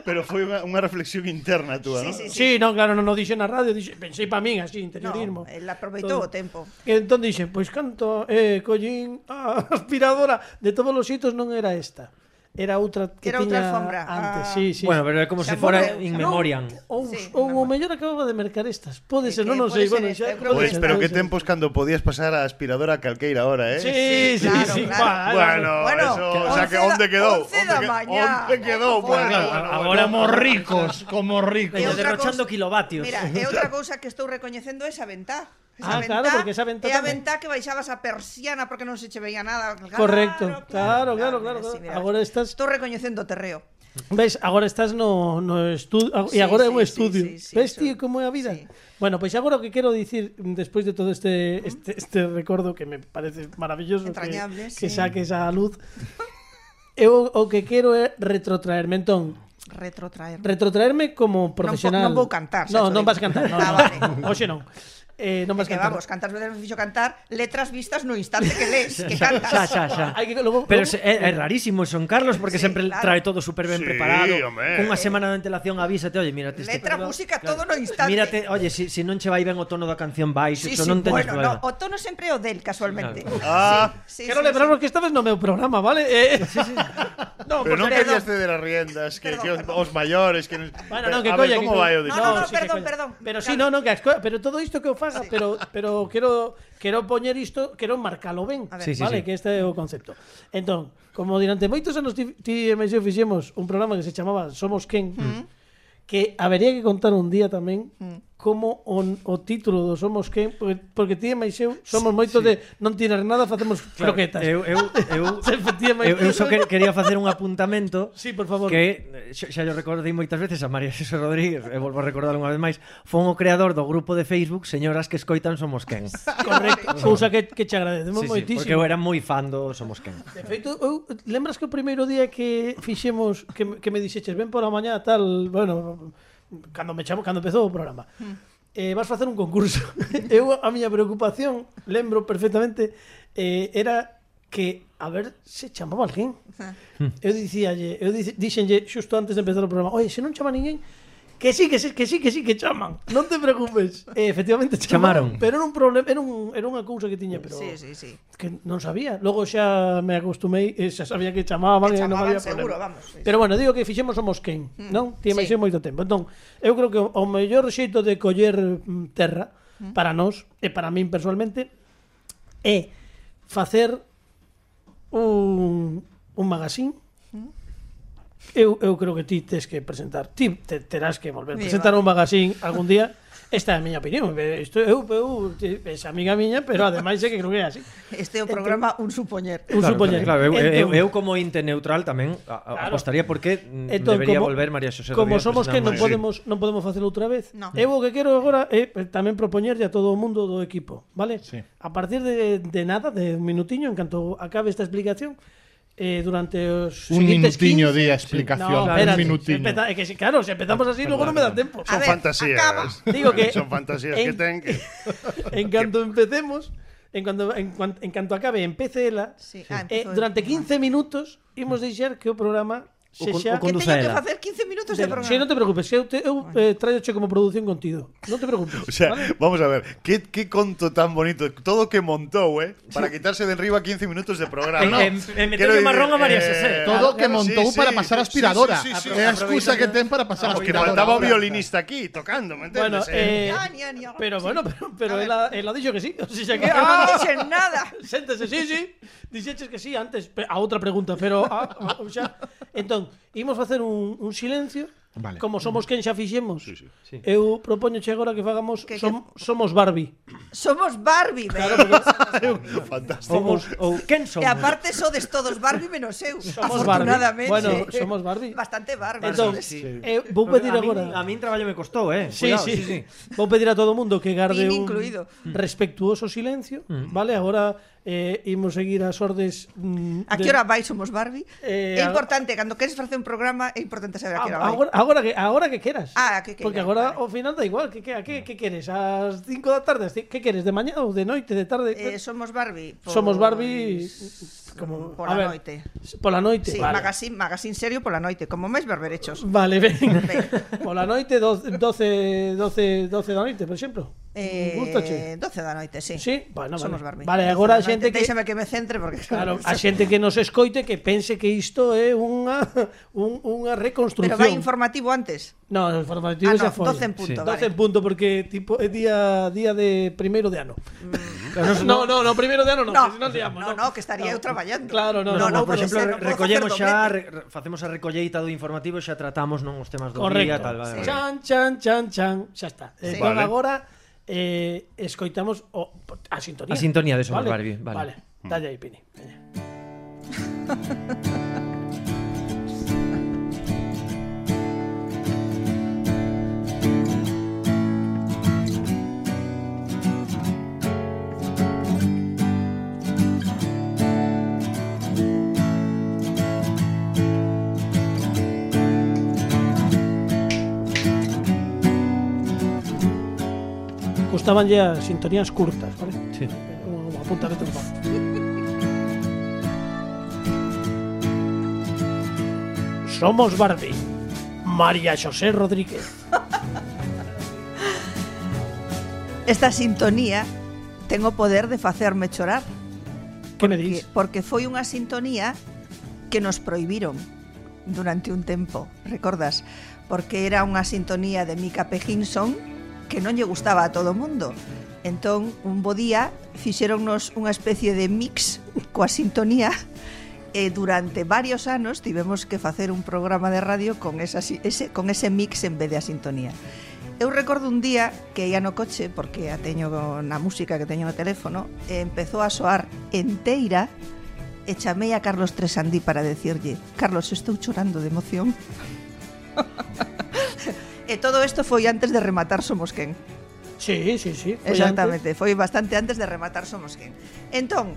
S4: Pero foi unha, unha reflexión interna túa, non?
S7: Sí, sí, sí.
S2: Sí, non, claro, non o dixen na radio, dixen, pensei pa min así, interiorismo.
S7: No, el aproveitou
S2: Todo.
S7: o tempo.
S2: Entón dixen, pois canto, eh, collín, a aspiradora, de todos os xitos non era esta. Era outra que
S7: Era
S2: tiña
S7: outra alfombra,
S2: antes,
S7: a-
S2: sí, sí.
S3: Bueno, pero é como se,
S7: Se
S3: fora
S7: aburre,
S3: in
S7: se
S3: memoriam.
S2: Ou,
S7: Sí,
S2: ou
S7: me
S2: o mellor acababa de mercar estas. Pode
S7: É
S2: ser,
S7: que
S2: non, non
S7: pode
S2: sei,
S7: ser
S2: bueno,
S7: esta, eu
S2: xa.
S7: creo
S2: pode
S4: Pois,
S2: ser,
S4: Pues, pero
S2: pode
S4: que
S2: ser.
S4: tempos cando podías pasar a aspiradora a calqueira ahora, eh?
S2: Sí, sí, sí,
S7: Sí, claro, claro.
S2: claro.
S4: Bueno,
S7: Bueno,
S4: eso, o sea, que
S7: once da-
S4: onde quedou?
S7: once da
S4: Onde que-
S7: mañá.
S4: Onde quedou?
S7: Por
S4: Bueno,
S7: favor.
S4: bueno, bueno.
S6: Ahora como ricos, como ricos.
S7: E
S3: Veña,
S7: outra
S3: derrochando
S7: cousa-
S3: kilovatios.
S7: Mira, é outra cousa que estou recoñecendo esa ventá. Esa
S2: Ah, claro, porque esa ventá
S7: É a
S2: tamén.
S7: ventá que baixabas a persiana porque non se che veía nada. Claro,
S2: Correcto. Claro, claro, claro,
S7: mira,
S2: claro.
S7: mira.
S2: Agora estás-
S7: Estou recoñecendo o terreo.
S2: Ves, agora estás no, no estudio
S7: Sí,
S2: e agora é
S7: sí,
S2: un
S7: sí,
S2: estudio.
S7: sí, sí,
S2: Ves,
S7: eso-
S2: tío, como é a vida?
S7: sí.
S2: Bueno, pois agora o que quero dicir despois de todo este este, este recordo que me parece maravilloso
S7: Entrañable,
S2: que, que
S7: sí.
S2: saques a luz. Eu o que quero é retrotraerme entón.
S7: Retrotraer.
S2: Retrotraerme como profesional.
S7: non vou cantar, xa
S2: No,
S7: cho
S2: non
S7: digo.
S2: vas cantar. No,
S7: Ah,
S2: no.
S7: vale.
S2: Oxe non. Eh, non vas
S7: Que
S2: cantar.
S7: vamos, cantas veces me fixo cantar letras vistas no instante que lees, que
S3: Xa,
S7: cantas.
S3: xa, xa.
S2: Hai que logo-
S3: Pero
S2: logo-
S3: se- é, é rarísimo son Carlos porque
S7: Sí,
S3: sempre
S7: claro.
S3: trae todo super ben
S4: Sí,
S3: preparado.
S4: home.
S3: Cunha semana de antelación avísate, oye, mírate este
S7: Letra,
S3: periodo,
S7: música, todo no instante.
S3: Mírate, oye, si, si non che vai ben o tono da canción vais,
S7: Sí,
S3: eso
S7: sí,
S3: non teñes
S7: bueno,
S3: problema.
S7: no, o tono sempre é o del, casualmente.
S4: Ah,
S7: Sí,
S2: Quero
S7: sí,
S2: lembrarvos que estabas no meu programa, vale? Eh, no, por
S4: Pero
S2: si
S4: non
S2: acaso.
S4: querías ceder as riendas, que,
S7: Perdón,
S4: que os,
S7: perdón.
S4: os maiores, que... nos-
S2: Bueno, no,
S4: Pero,
S2: que
S4: a ver,
S2: colla,
S4: como
S2: que colla.
S4: vai o
S7: No,
S4: dito?
S7: no, no,
S2: que
S7: perdón,
S2: colla.
S7: perdón.
S2: Pero sí,
S7: Claro.
S2: no, no, que as co- pero todo isto que eu faga, pero pero quero quero poñer isto, quero marcalo ben,
S7: A ver.
S3: Sí, sí,
S2: vale,
S3: sí.
S2: que este é o concepto. Entón, como durante moitos anos ti, ti e mais eu fixemos un programa que se chamaba Somos quen, Mm.
S3: Mm.
S2: que habería que contar un día tamén
S3: Mm.
S2: como on, o título do Somos quen, porque, porque ti e mais eu somos moito de non tirar nada, facemos
S3: Claro,
S2: croquetas.
S3: Eu eu eu
S2: Sempre ti e máis
S3: eu, eu
S2: eu-
S3: só quer- quería facer un apuntamento.
S2: Sí, por favor.
S3: Que eh, xa, xa yo recordei moitas veces a María Xosé Rodríguez, e volvo a recordar unha vez máis, foi o creador do grupo de Facebook Señoras que escoitan Somos Quen. Sí,
S2: Correcto, cousa que, que che agradecemos
S3: sí,
S2: moitísimo.
S3: porque eu era moi fan do Somos Quen.
S2: De feito, eu, lembras que o primeiro día que fixemos que, me- que me dixeches ben pola mañá tal, bueno, cando me chamo, cando empezou o programa.
S7: Hmm.
S2: Eh, vas facer un concurso. eu a miña preocupación, lembro perfectamente, eh, era que a ver se chamaba alguén. Eu dicíalle, eu dic- dixenlle xusto antes de empezar o programa, "Oye, se non chama ninguén, Que sí, que sí, que sí, que sí, que chaman. Non te preocupes. Eh, efectivamente chamaron,
S3: Chamaron.
S2: pero era un problema, era un era unha cousa que tiña, pero
S7: Sí, sí, sí.
S2: que non sabía. Logo xa me acostumei, eh, xa sabía que chamaban,
S7: Que
S2: e non había
S7: chamaban seguro,
S2: problema.
S7: vamos, sí,
S2: Pero bueno, digo que fixemos somos quen, mm. non? Ti máis sí.
S7: sí.
S2: moito tempo. Entón, eu creo que o, o mellor xeito de coller mm, terra mm. para nós e para min personalmente é facer un un magazín
S7: Mm.
S2: Eu, eu creo que ti tes que presentar Ti te, terás que volver a
S7: Viva.
S2: presentar un magazín algún día Esta é a miña opinión eh, Isto, eu, eu, es amiga miña Pero ademais é que creo que é así
S7: Este é o programa Un Supoñer.
S2: Un supoñer.
S3: Claro, eu, eu,
S2: Entón-
S3: eu como ente neutral tamén a, a,
S2: Claro.
S3: apostaría porque mm,
S2: entón,
S3: debería
S2: como-
S3: volver María Xosé
S2: Como
S3: Rodríguez
S2: somos que
S3: presentando
S2: non
S3: isto.
S2: podemos non podemos facelo outra vez.
S7: No.
S2: Eu o que quero agora é eh, tamén propoñerlle a todo o mundo do equipo, vale?
S6: Sí.
S2: A partir de, de nada, de un minutiño en canto acabe esta explicación, eh, durante os
S6: Un
S2: seguintes
S6: minutiño
S2: 15
S6: de explicación,
S2: No,
S6: un
S2: espérate,
S6: minutiño.
S2: empeza- é que si- claro, se empezamos así, logo non me dá tempo.
S7: A
S4: Son
S7: ver,
S4: fantasías.
S7: acaba.
S2: Digo que-
S4: Son fantasías
S2: en-
S4: que ten que...
S2: en canto empecemos, en canto, en, cuan- en canto acabe, empece ela,
S7: Sí. Ah,
S2: eh,
S7: empezou el
S2: durante
S7: programa.
S2: 15 minutos imos deixar que o programa se
S3: con-
S2: xa...
S3: o
S7: Que
S3: conduce
S7: teño que
S3: ela.
S7: facer 15 minutos de
S2: Del-
S7: programa.
S2: Sí, non te preocupes, que eu, te, eu eh, traioche como produción contigo. Non te preocupes.
S4: O sea,
S2: vale?
S4: vamos a ver, qué, qué conto tan bonito, todo que montó, eh, para quitarse de enriba 15 minutos de programa.
S3: En- en- en
S4: Quiero
S3: meterle
S4: decir,
S3: marrón a María
S4: eh,
S3: José.
S6: Todo que
S4: claro,
S6: montou
S4: sí, sí.
S6: para pasar
S4: Sí,
S6: aspiradora.
S4: sí, sí, sí.
S6: É a excusa que ten para pasar
S4: Vamos, que
S6: aspiradora.
S4: faltaba un violinista aquí tocando, ¿me
S2: Bueno,
S4: entiendes?
S2: eh,
S7: Ya, ni a- ni a-
S2: pero
S7: sí.
S2: bueno, pero, pero
S7: A ver.
S2: él, ha, él ha dicho que sí. O sea, que,
S7: Eu non
S2: ah,
S7: dixen Eh, nada.
S2: séntese, sí, sí. Dixeches que sí antes pe- a outra pregunta, pero a, a, o sea, entón, imos facer un, un silencio.
S6: Vale.
S2: Como somos quen xa fixemos. Sí, sí.
S3: Sí.
S2: Eu propoñoche agora que fagamos
S7: Que- que-
S2: som, somos Barbie.
S7: Somos Barbie, ¿eh? ben.
S4: Fantástico.
S3: Ou, ou quen somos?
S7: E aparte sodes todos Barbie menos eu.
S2: Somos Barbie.
S7: afortunadamente.
S2: Bueno, somos Barbie.
S7: Bastante Barbie.
S2: Entón,
S7: sodes.
S3: sí.
S2: eh, vou pedir
S3: a
S2: agora.
S3: Min, a min traballo me costou, eh.
S2: Sí,
S3: Cuidado,
S2: sí. Mm.
S3: sí, sí.
S2: Vou pedir a todo mundo que garde un
S7: Min incluído.
S2: respetuoso silencio, vale? Agora eh, imos seguir as ordes mm,
S7: A que
S2: de-
S7: hora vai somos Barbie?
S2: Eh,
S7: é
S2: a-
S7: importante, cando queres facer un programa, é importante saber a que hora
S2: Ah,
S7: vai.
S2: Agora, agora que agora que queras.
S7: Ah, a que queira,
S2: Porque agora
S7: vale.
S2: ao final da igual, que que a que que queres? Ás 5 da tarde, ás cin- que queres? De mañá ou de noite, de tarde?
S7: Eh, somos Barbie. pois,
S2: Somos Barbie uh, como
S7: pola
S2: a ver,
S7: pues, noite.
S2: Pola noite,
S7: Sí,
S2: vale.
S7: magazine, magazine serio pola noite, como máis berberechos.
S2: Vale, ben. Pola noite 12 12 12 da noite, por exemplo.
S7: Eh,
S2: Gusta, che?
S7: 12 da noite, sí.
S2: Sí? Bueno,
S7: Somos
S2: vale.
S7: Barbie.
S2: Vale,
S7: 12
S2: agora
S7: da
S2: a xente
S7: noite.
S2: que-
S7: Déixame que me centre porque
S2: Claro, a xente que nos escoite que pense que isto é unha un, unha
S7: Pero vai
S2: reconstrucción.
S7: informativo antes.
S2: No, o informativo
S7: Ah,
S2: xa
S7: no,
S2: foi.
S7: 12 en punto,
S2: sí.
S7: vale.
S2: 12 en punto porque tipo é día día de primeiro de ano. No, no, no, primeiro de ano non,
S7: Mm. No.
S2: que si non liamos,
S7: No, no, que estaría eu traballando.
S2: Claro, no,
S7: No,
S2: no,
S7: no,
S3: por
S7: pode
S3: exemplo,
S7: ser, non
S3: re-
S7: podo
S3: recollemos
S7: facer
S3: xa,
S7: doblete.
S3: re- re- facemos a recolleita do informativo e xa tratamos non os temas do
S2: Correcto.
S3: día, tal, vale. vale.
S2: Chan, chan, chan, chan, xa está. Eh,
S7: Sí.
S2: entón
S4: Vale.
S2: agora eh, escoitamos o, a sintonía.
S3: A sintonía de Somos Barbie, vale. Mm.
S2: Vale, dalle aí, Pini. veña. Gustabanlle as sintonías curtas, vale?
S3: Sí.
S2: Un apuntamento no banco. Somos Barbie. María José Rodríguez.
S7: Esta sintonía ten o poder de facerme chorar.
S2: Que me
S7: que-
S2: dis?
S7: porque foi unha sintonía que nos prohibiron durante un tempo, recordas? Porque era unha sintonía de Mika Pejinson que non lle gustaba a todo o mundo. Entón, un bo día fixéronnos unha especie de mix coa sintonía e eh, durante varios anos tivemos que facer un programa de radio con esa, si- ese, con ese mix en vez de a sintonía. Eu recordo un día que ia no coche, porque a teño na música que teño no teléfono, e empezou a soar enteira e chamei a Carlos Tresandí para decirlle Carlos, estou chorando de emoción. e todo isto foi antes de rematar Somos Quen.
S2: Sí, sí, sí. foi antes.
S7: Exactamente, foi bastante antes de rematar Somos Quen. Entón,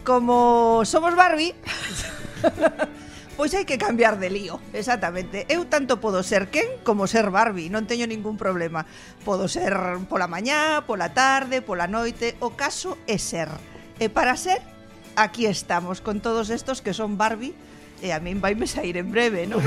S7: como somos Barbie, pois hai que cambiar de lío, exactamente. Eu tanto podo ser quen como ser Barbie, non teño ningún problema. Podo ser pola mañá, pola tarde, pola noite, o caso é ser. E para ser, aquí estamos con todos estos que son Barbie e a min vaime sair en breve, non?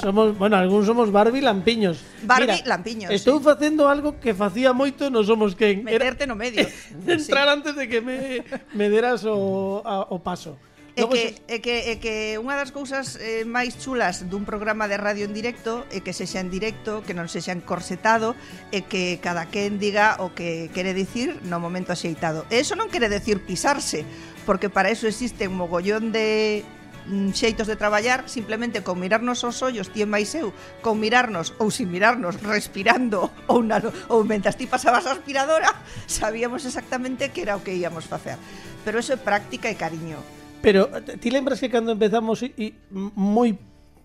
S2: Somos, bueno, algúns somos Barbie lampiños.
S7: Barbie lampiños,
S2: Estou
S7: sí.
S2: facendo algo que facía moito e non somos quen. Era
S7: Meterte no medio.
S2: entrar antes de que me, me deras o, a- o paso.
S7: É
S2: Logo
S7: que,
S2: xa-
S7: é que, é que unha das cousas eh, máis chulas dun programa de radio en directo é que sexa en directo, que non sexa encorsetado e que cada quen diga o que quere dicir no momento axeitado. E eso non quere decir pisarse, porque para eso existen mogollón de mm, xeitos de traballar simplemente con mirarnos aos ollos ti e máis eu con mirarnos ou sin mirarnos respirando ou, na, ou mentas ti pasabas a aspiradora sabíamos exactamente que era o que íamos facer pero eso é práctica e cariño
S2: Pero t- ti lembras que cando empezamos i- i m- moi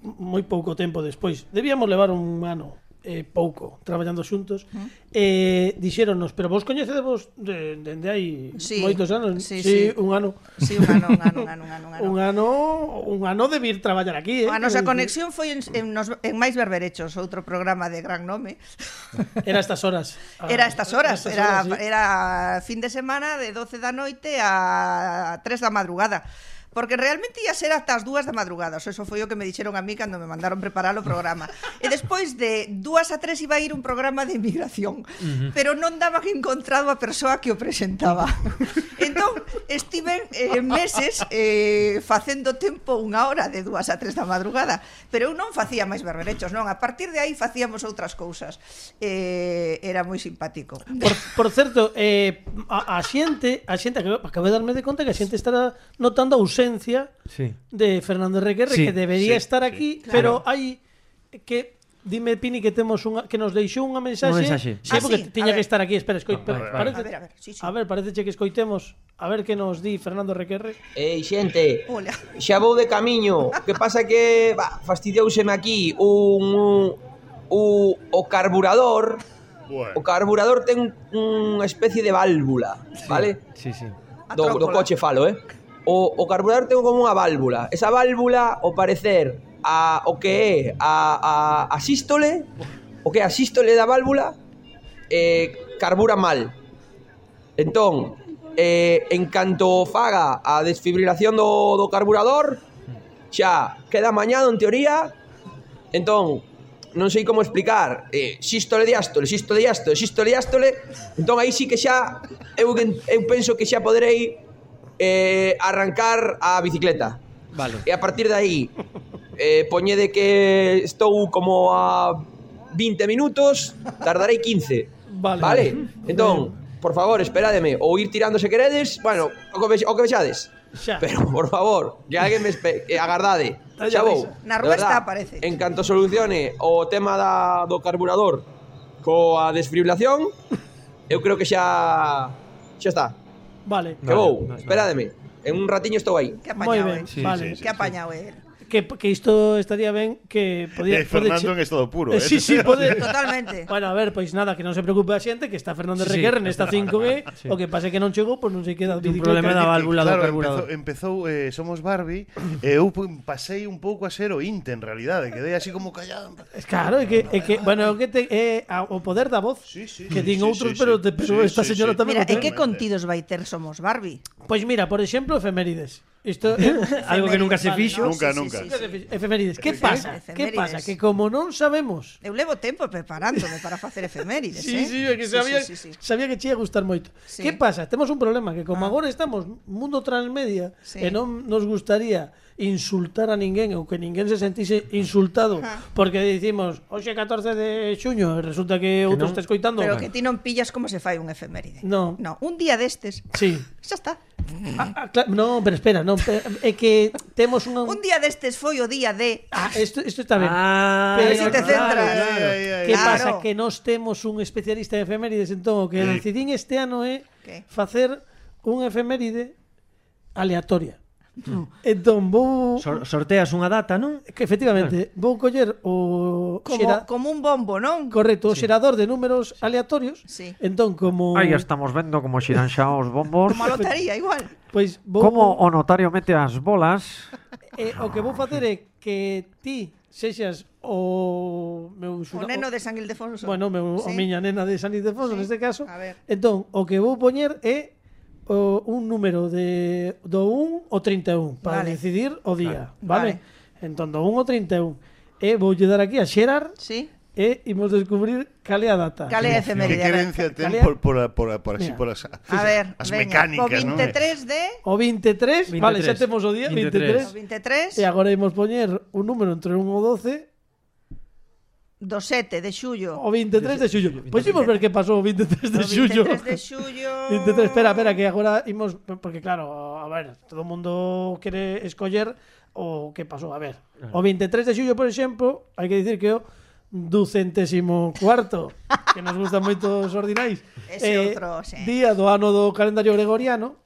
S2: moi pouco tempo despois, debíamos levar un ano eh, pouco traballando xuntos, eh, dixéronnos, pero vos coñecedevos de, dende hai
S7: Sí,
S2: moitos anos,
S7: sí, sí.
S2: un ano.
S7: Sí, un ano, un ano, un ano, un ano.
S2: Un ano, un ano de vir traballar aquí, eh.
S7: A nosa
S2: quero dicir,
S7: conexión foi en, en, nos, en Mais Berberechos, outro programa de gran nome.
S2: era a estas horas. Ah,
S7: Era a estas
S2: a
S7: horas,
S2: estas
S7: era,
S2: horas, sí.
S7: era fin de semana de 12 da noite a 3 da madrugada. Porque realmente ia ser ata as dúas da madrugada o sea, Eso foi o que me dixeron a mí cando me mandaron preparar o programa E despois de dúas a tres iba a ir un programa de emigración Pero non daban encontrado a persoa que o presentaba Entón, estiven eh, meses eh, facendo tempo unha hora de dúas a tres da madrugada Pero eu non facía máis berberechos, non A partir de aí facíamos outras cousas eh, Era moi simpático
S2: Por, por certo, eh, a, a xente, a xente acabo, acabo de darme de conta que a xente estará notando a ausencia
S3: Sí.
S2: de Fernando Requerre
S3: Sí,
S2: que debería
S4: sí,
S2: estar
S4: sí.
S2: aquí, pero hai que dime Pini que temos unha que nos deixou unha mensaxe.
S3: Unha mensaxe.
S2: Sí,
S7: Ah,
S2: porque
S7: sí, a
S2: tiña
S7: ver.
S2: que estar aquí, espera, escoi,
S3: Ah,
S2: pa-
S3: a ver,
S2: parece.
S7: a ver, a ver, sí, sí.
S2: A ver, pareceche que escoitemos. A ver que nos di Fernando Requerre.
S8: Ei, xente,
S7: Ola.
S8: xa vou de camiño Que pasa que, ba, fastidiouseme aquí un, un, un, o carburador
S4: Bueno.
S8: O carburador ten un- unha especie de válvula, vale?
S3: Sí, sí.
S7: A
S8: Do, do
S7: trómpola.
S8: coche falo, eh? O, o carburador ten como unha válvula Esa válvula, o parecer, a, o que é a, a, a sístole O que é a sístole da válvula eh, Carbura mal Entón, eh, en canto faga a desfibrilación do, do carburador, xa queda mañado en teoría. Entón, non sei como explicar, eh, sístole diástole, sístole diástole, sístole diástole, entón aí sí que xa eu, eu penso que xa poderei eh, arrancar a bicicleta.
S3: Vale.
S8: E a partir de aí eh, poñede que estou como a 20 minutos, tardarei 15.
S2: Vale.
S8: Vale, entón, por favor, esperádeme ou ir tirando se queredes, bueno, o que, vex- o que vexades.
S2: Xa.
S8: Pero, por favor, que alguén me espe- que agardade.
S2: Dalle
S8: Xa vou.
S2: risa.
S7: Na
S8: de
S7: rúa
S8: verdad,
S7: está, parece.
S8: En canto solucione o tema da, do carburador coa desfibrilación, eu creo que xa xa está.
S2: Vale.
S8: Que vou, esperádeme. En un ratiño estou aí.
S7: Que
S2: Moi
S7: apañado,
S2: ben,
S7: eh.
S4: Sí,
S2: vale.
S4: sí,
S7: Que apañado, eh.
S2: Que, que isto estaría ben que podía,
S4: Eh,
S2: pode che-
S4: Fernando en estado puro.
S2: Eh,
S4: Eh,
S2: sí, sí, pode
S7: Totalmente.
S2: Bueno, a ver, pois nada, que non se preocupe a xente Que está Fernando
S3: Sí,
S2: Requer
S3: sí.
S2: nesta 5B
S3: Sí.
S2: O que pase que non chegou, pois non sei que da
S3: Ten un problema da válvula do
S4: claro,
S3: carburador.
S4: Empezou, empezou eh, Somos Barbie e eu pu- pasei un pouco a ser o Inte en realidade, quedei así como callado.
S2: Es Claro, é que, é que bueno, é que te, é a- o poder da voz
S4: Sí, sí,
S2: Que
S4: sí,
S2: din
S4: sí,
S2: outros,
S4: sí,
S2: pero, te,
S4: sí.
S2: pero
S4: Sí,
S2: esta
S4: sí,
S2: señora
S4: sí.
S2: tamén
S7: Mira,
S2: o ten.
S7: en que contidos vai ter somos Barbie?
S2: Pois mira, por exemplo, efemérides Isto é-
S3: Algo que nunca se
S7: Vale,
S3: fixo.
S7: no,
S4: Nunca,
S7: sí, sí,
S4: nunca.
S7: sí, sí.
S2: Efemérides, que pasa? Que
S7: Efemérides.
S2: pasa? Que como non sabemos
S7: Eu levo tempo preparándome para facer efemérides,
S2: Sí,
S7: eh?
S2: sí, é que sabía,
S7: sí, sí, sí.
S2: sabía que che ia gustar moito.
S7: Sí. Ah.
S2: Que pasa? Temos un problema que como agora estamos mundo transmedia
S7: Sí.
S2: e non nos gustaría insultar a ninguén ou que ninguén se sentise insultado porque dicimos, "Hoxe é 14 de xuño", e resulta que outro
S3: non.
S2: está escoitando.
S7: Pero que ti non pillas como se fai un efeméride.
S2: No.
S7: No, un día destes.
S2: Sí.
S7: Xa está.
S2: Ah, ah, cla- no, pero espera, non, pe- é que temos unha
S7: Un día destes foi o día de
S2: Ah, isto isto está ben.
S3: Ah,
S2: Pero
S7: Pero si te eh,
S2: claro,
S7: centras.
S4: claro. Ai, ai, ai.
S2: Que
S7: Claro.
S2: pasa que nós temos un especialista en efemérides entón o que decidín este ano é
S7: Que?
S2: facer un efeméride aleatoria.
S7: Hmm.
S2: Entón vou
S3: Sor- sorteas unha data, non?
S2: que efectivamente vou coller o
S7: como
S2: xera-
S7: como un bombo, non?
S2: correcto, o xerador de números aleatorios.
S7: Sí.
S2: Entón como
S9: Aí estamos vendo como xiran xa os bombos
S7: Como a lotaría igual.
S2: pois vou
S9: Como o notario mete as bolas
S2: eh, o que vou facer é que ti sexas o meu
S7: O
S2: xura-
S7: neno de San Ildefonso.
S2: Bueno, meu, a
S7: Sí.
S2: miña nena de San Ildefonso
S7: Sí,
S2: neste caso.
S7: a ver.
S2: Entón, o que vou poñer é o, un número de do 1 ao 31 para
S7: Vale.
S2: decidir o día,
S7: Claro.
S2: vale? Entón, do 1 ao 31. E voulle dar aquí a xerar
S7: Sí.
S2: e imos descubrir cal é a data.
S7: Cal é a
S4: Que
S7: efeméride? A ver.
S4: querencia ten
S2: Calea.
S4: por, por, a- por, a- por así,
S2: Mira.
S4: por as,
S7: A ver,
S4: as
S7: veña.
S4: mecánicas,
S7: O 23 de
S2: O 23, vale, xa
S3: 23.
S2: temos o día
S7: o
S2: 23. 23.
S7: 23
S2: E agora imos poñer un número entre 1 ou 12
S7: do 7 de xullo.
S2: o 23 de xullo. Pois imos ver que pasou o 23 Oh, de
S7: O
S2: xullo.
S7: 23 de xullo.
S2: 23, espera, espera, que agora imos porque claro, a ver, todo o mundo quere escoller o que pasou, a ver. O 23 de xullo, por exemplo, hai que dicir que o ducentésimo cuarto, que nos gustan moito os ordinais.
S7: Ese outro,
S2: Eh,
S7: sí.
S2: Día do ano do calendario gregoriano.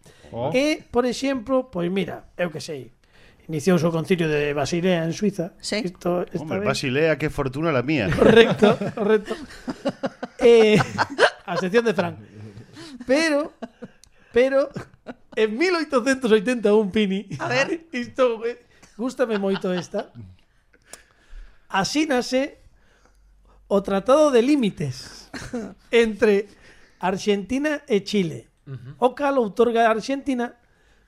S2: E, por exemplo, pois mira, eu que sei, iniciouse o concilio de Basilea en Suiza.
S7: Sí.
S2: Isto está ben.
S4: Hombre, Basilea, qué fortuna la mía.
S2: Correcto, correcto. Eh, a sección de Fran. Pero, pero, en 1881, Pini.
S7: A ver.
S2: Isto, eh, gústame moito esta. Asínase o Tratado de Límites entre Argentina e Chile. O cal outorga a Argentina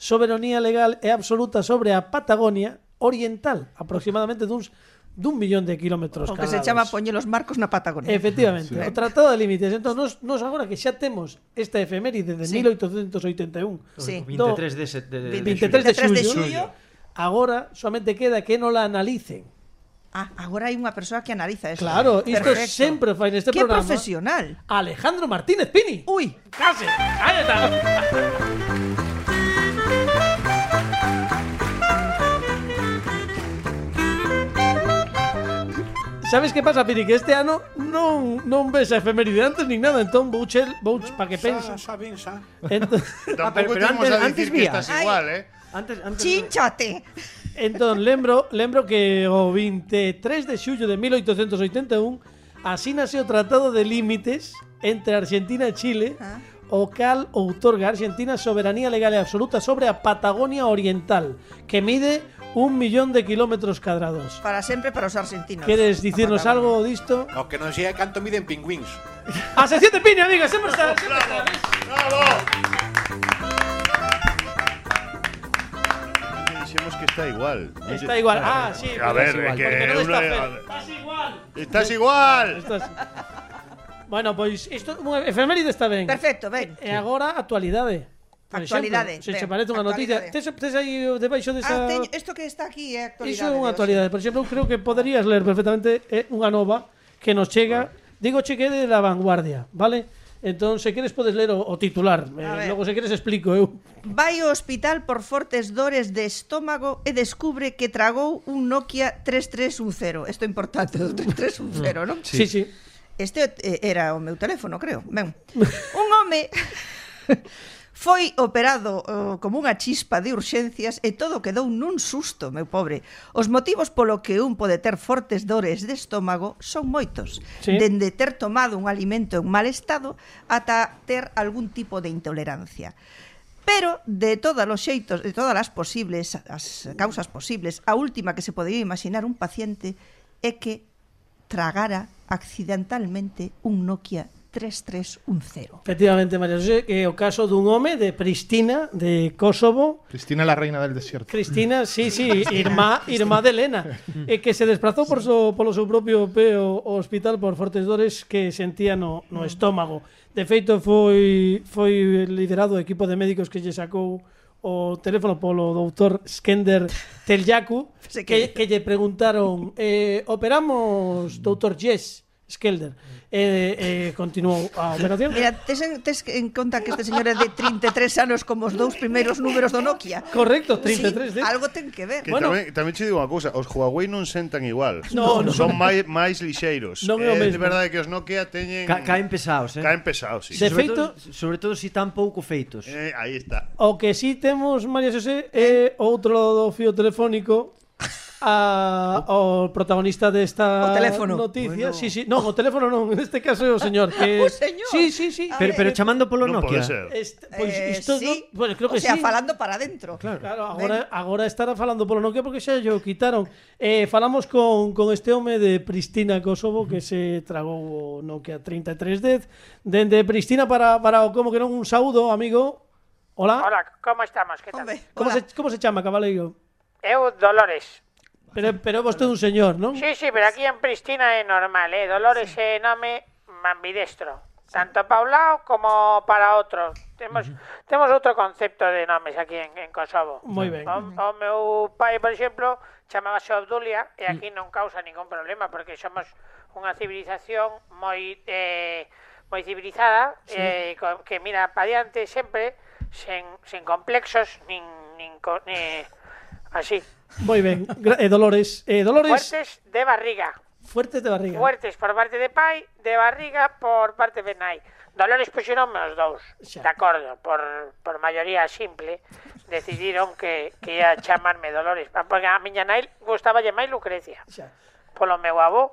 S2: soberanía legal e absoluta sobre a Patagonia oriental, aproximadamente duns dun millón de kilómetros
S7: O que se
S2: calados.
S7: chama poñer os marcos na Patagonia.
S2: Efectivamente, o Tratado de Límites. Entón, nos, nos agora que xa temos esta efeméride de
S7: Sí.
S2: 1881,
S7: Sí.
S3: 23 de, se- de, de, de
S2: 23 de
S7: 23 de
S2: xullo,
S7: xullo.
S2: agora solamente queda que non la analicen.
S7: Ah, agora hai unha persoa que analiza eso.
S2: Claro, isto
S7: Perfecto.
S2: sempre fai neste
S7: Que
S2: programa.
S7: profesional.
S2: Alejandro Martínez Pini.
S7: Uy,
S2: case. Ahí está. Sabes que pasa, Pini? Que este ano non, non ves a efeméride antes nin nada, entón vou chel, vou para que penses. Entón,
S4: Tampoco
S3: pero
S4: te vamos
S3: antes-
S4: a
S3: antes
S4: decir que
S3: vía.
S4: estás
S7: Ay.
S4: igual, ¿eh?
S3: Antes, antes
S7: Chinchate.
S2: entón lembro, lembro que o 23 de xullo de 1881 asínase o Tratado de Límites entre Argentina e Chile
S7: Ah.
S2: o cal outorga a Argentina soberanía legal e absoluta sobre a Patagonia Oriental que mide un millón de kilómetros cadrados.
S7: Para sempre para os argentinos.
S2: ¿Quieres decirnos
S7: A Patagonia.
S2: algo disto? ¡Ah,
S5: O que non sei é canto miden pingüins.
S2: ¡A sección de Pini, amigos! ¡Siempre está! sempre está.
S4: Decimos que está igual.
S2: Está igual. Ah, sí.
S4: A ver, eh, que
S2: porque non
S4: é
S2: está Ah,
S4: unha-
S2: Fer. Estás igual.
S4: Estás igual.
S2: Esto es... Bueno, pois isto unha efeméride está ben.
S7: Perfecto, ben.
S2: E agora actualidade. Por
S7: Actualidade,
S2: Exemplo, se
S7: ben,
S2: che parece unha noticia, tes,
S7: actualidade.
S2: tes aí debaixo desa
S7: Ah, teño- Esto que está aquí é actualidade.
S2: Iso é unha
S7: Dios.
S2: actualidade. Por exemplo, eu creo que poderías ler perfectamente eh, unha nova que nos chega, digo che que é de la vanguardia, vale? Entón, se queres podes ler o, o titular.
S7: A
S2: Eh,
S7: ver.
S2: logo, se queres, explico eu.
S7: Vai ao hospital por fortes dores de estómago e descubre que tragou un Nokia 3310. Isto é importante, o 3310, non?
S2: Sí, sí. sí.
S7: Este eh, era o meu teléfono, creo. Ben. Un home foi operado eh, como unha chispa de urxencias e todo quedou nun susto, meu pobre. Os motivos polo que un pode ter fortes dores de estómago son moitos.
S2: Sí.
S7: Dende ter tomado un alimento en mal estado ata ter algún tipo de intolerancia. Pero de todos os xeitos, de todas as posibles, as causas posibles, a última que se podía imaginar un paciente é que tragara accidentalmente un Nokia 3310.
S2: Efectivamente, María José, que é o caso dun home de Pristina, de Kosovo,
S6: Cristina la reina del desierto.
S2: Cristina, sí, sí, irmá, irmá de Elena, e eh, que se desplazou por so, polo seu propio peo ao hospital por fortes dores que sentía no, no estómago. De feito, foi, foi liderado o equipo de médicos que lle sacou o teléfono polo doutor Skender Telyaku,
S7: Se
S2: que,
S7: que-
S2: que lle preguntaron eh, operamos doutor Jess Skelder e eh, eh, continuou a operación
S7: Mira, tes en, tes en conta que este señor é de 33 anos como os dous primeiros números do Nokia.
S2: correcto 33
S7: sí,
S2: de...
S7: algo ten que ver.
S4: Que
S2: Bueno.
S4: tamén, tamén che digo unha cousa, os Huawei non sentan igual.
S2: No, no.
S4: Son máis máis lixeiros.
S2: Non é o
S4: Eh,
S2: mesmo.
S4: de verdade que os Nokia teñen
S3: Ca- caen pesados, eh?
S4: caen pesados, sí.
S2: De
S3: sobre
S2: feito-
S3: todo, sobre todo si tan pouco feitos.
S4: Eh, aí está.
S2: O que sí temos, María Xosé, é outro lado do fío telefónico a, ao protagonista desta
S7: O teléfono.
S2: noticia. Bueno. Sí, sí. Non, o teléfono non, neste caso é o señor. Que...
S7: O señor.
S2: Sí, sí, sí.
S3: Pero, pero chamando polo
S4: Non
S3: Nokia.
S4: pode ser.
S2: Este, pois
S7: Eh,
S2: isto eh,
S7: sí.
S2: sí. bueno, creo que
S7: o sea,
S2: sí.
S7: falando para dentro.
S2: Claro, agora, agora estará falando polo Nokia porque xa lle o quitaron. Eh, falamos con, con este home de Pristina, Kosovo, que se tragou o Nokia 3310. Dende Pristina para, para o como que non un saúdo, amigo. Hola.
S10: Hola, como estamos? Que tal?
S7: Hombre,
S2: Como,
S7: hola.
S2: se, como se chama, cabaleiro?
S10: Eu, Dolores.
S2: Pero, pero é vostede un señor, non?
S10: Sí, sí, pero aquí en Pristina é normal, eh? Dolores é nome ambidestro. Tanto para un lado como para outro. Temos, temos outro concepto de nomes aquí en, en Kosovo.
S2: Moi ben.
S10: O, o meu pai, por exemplo, chamábase Obdulia e aquí non causa ningún problema porque somos unha civilización moi eh, moi civilizada eh, co- que mira para diante sempre sen, sen complexos nin, nin, co- ni, así
S2: Moi ben. Gra- eh, Dolores. Eh, Dolores,
S10: fuertes de barriga.
S2: fuertes de barriga.
S10: Fuertes por parte de pai, de barriga por parte de nai. Dolores puxeron os dous,
S2: Xa.
S10: de acordo, por, por maioría simple, decidiron que, que ia chamarme Dolores, pa- porque a miña nai gustaba máis Lucrecia,
S2: Xa.
S10: polo meu avó,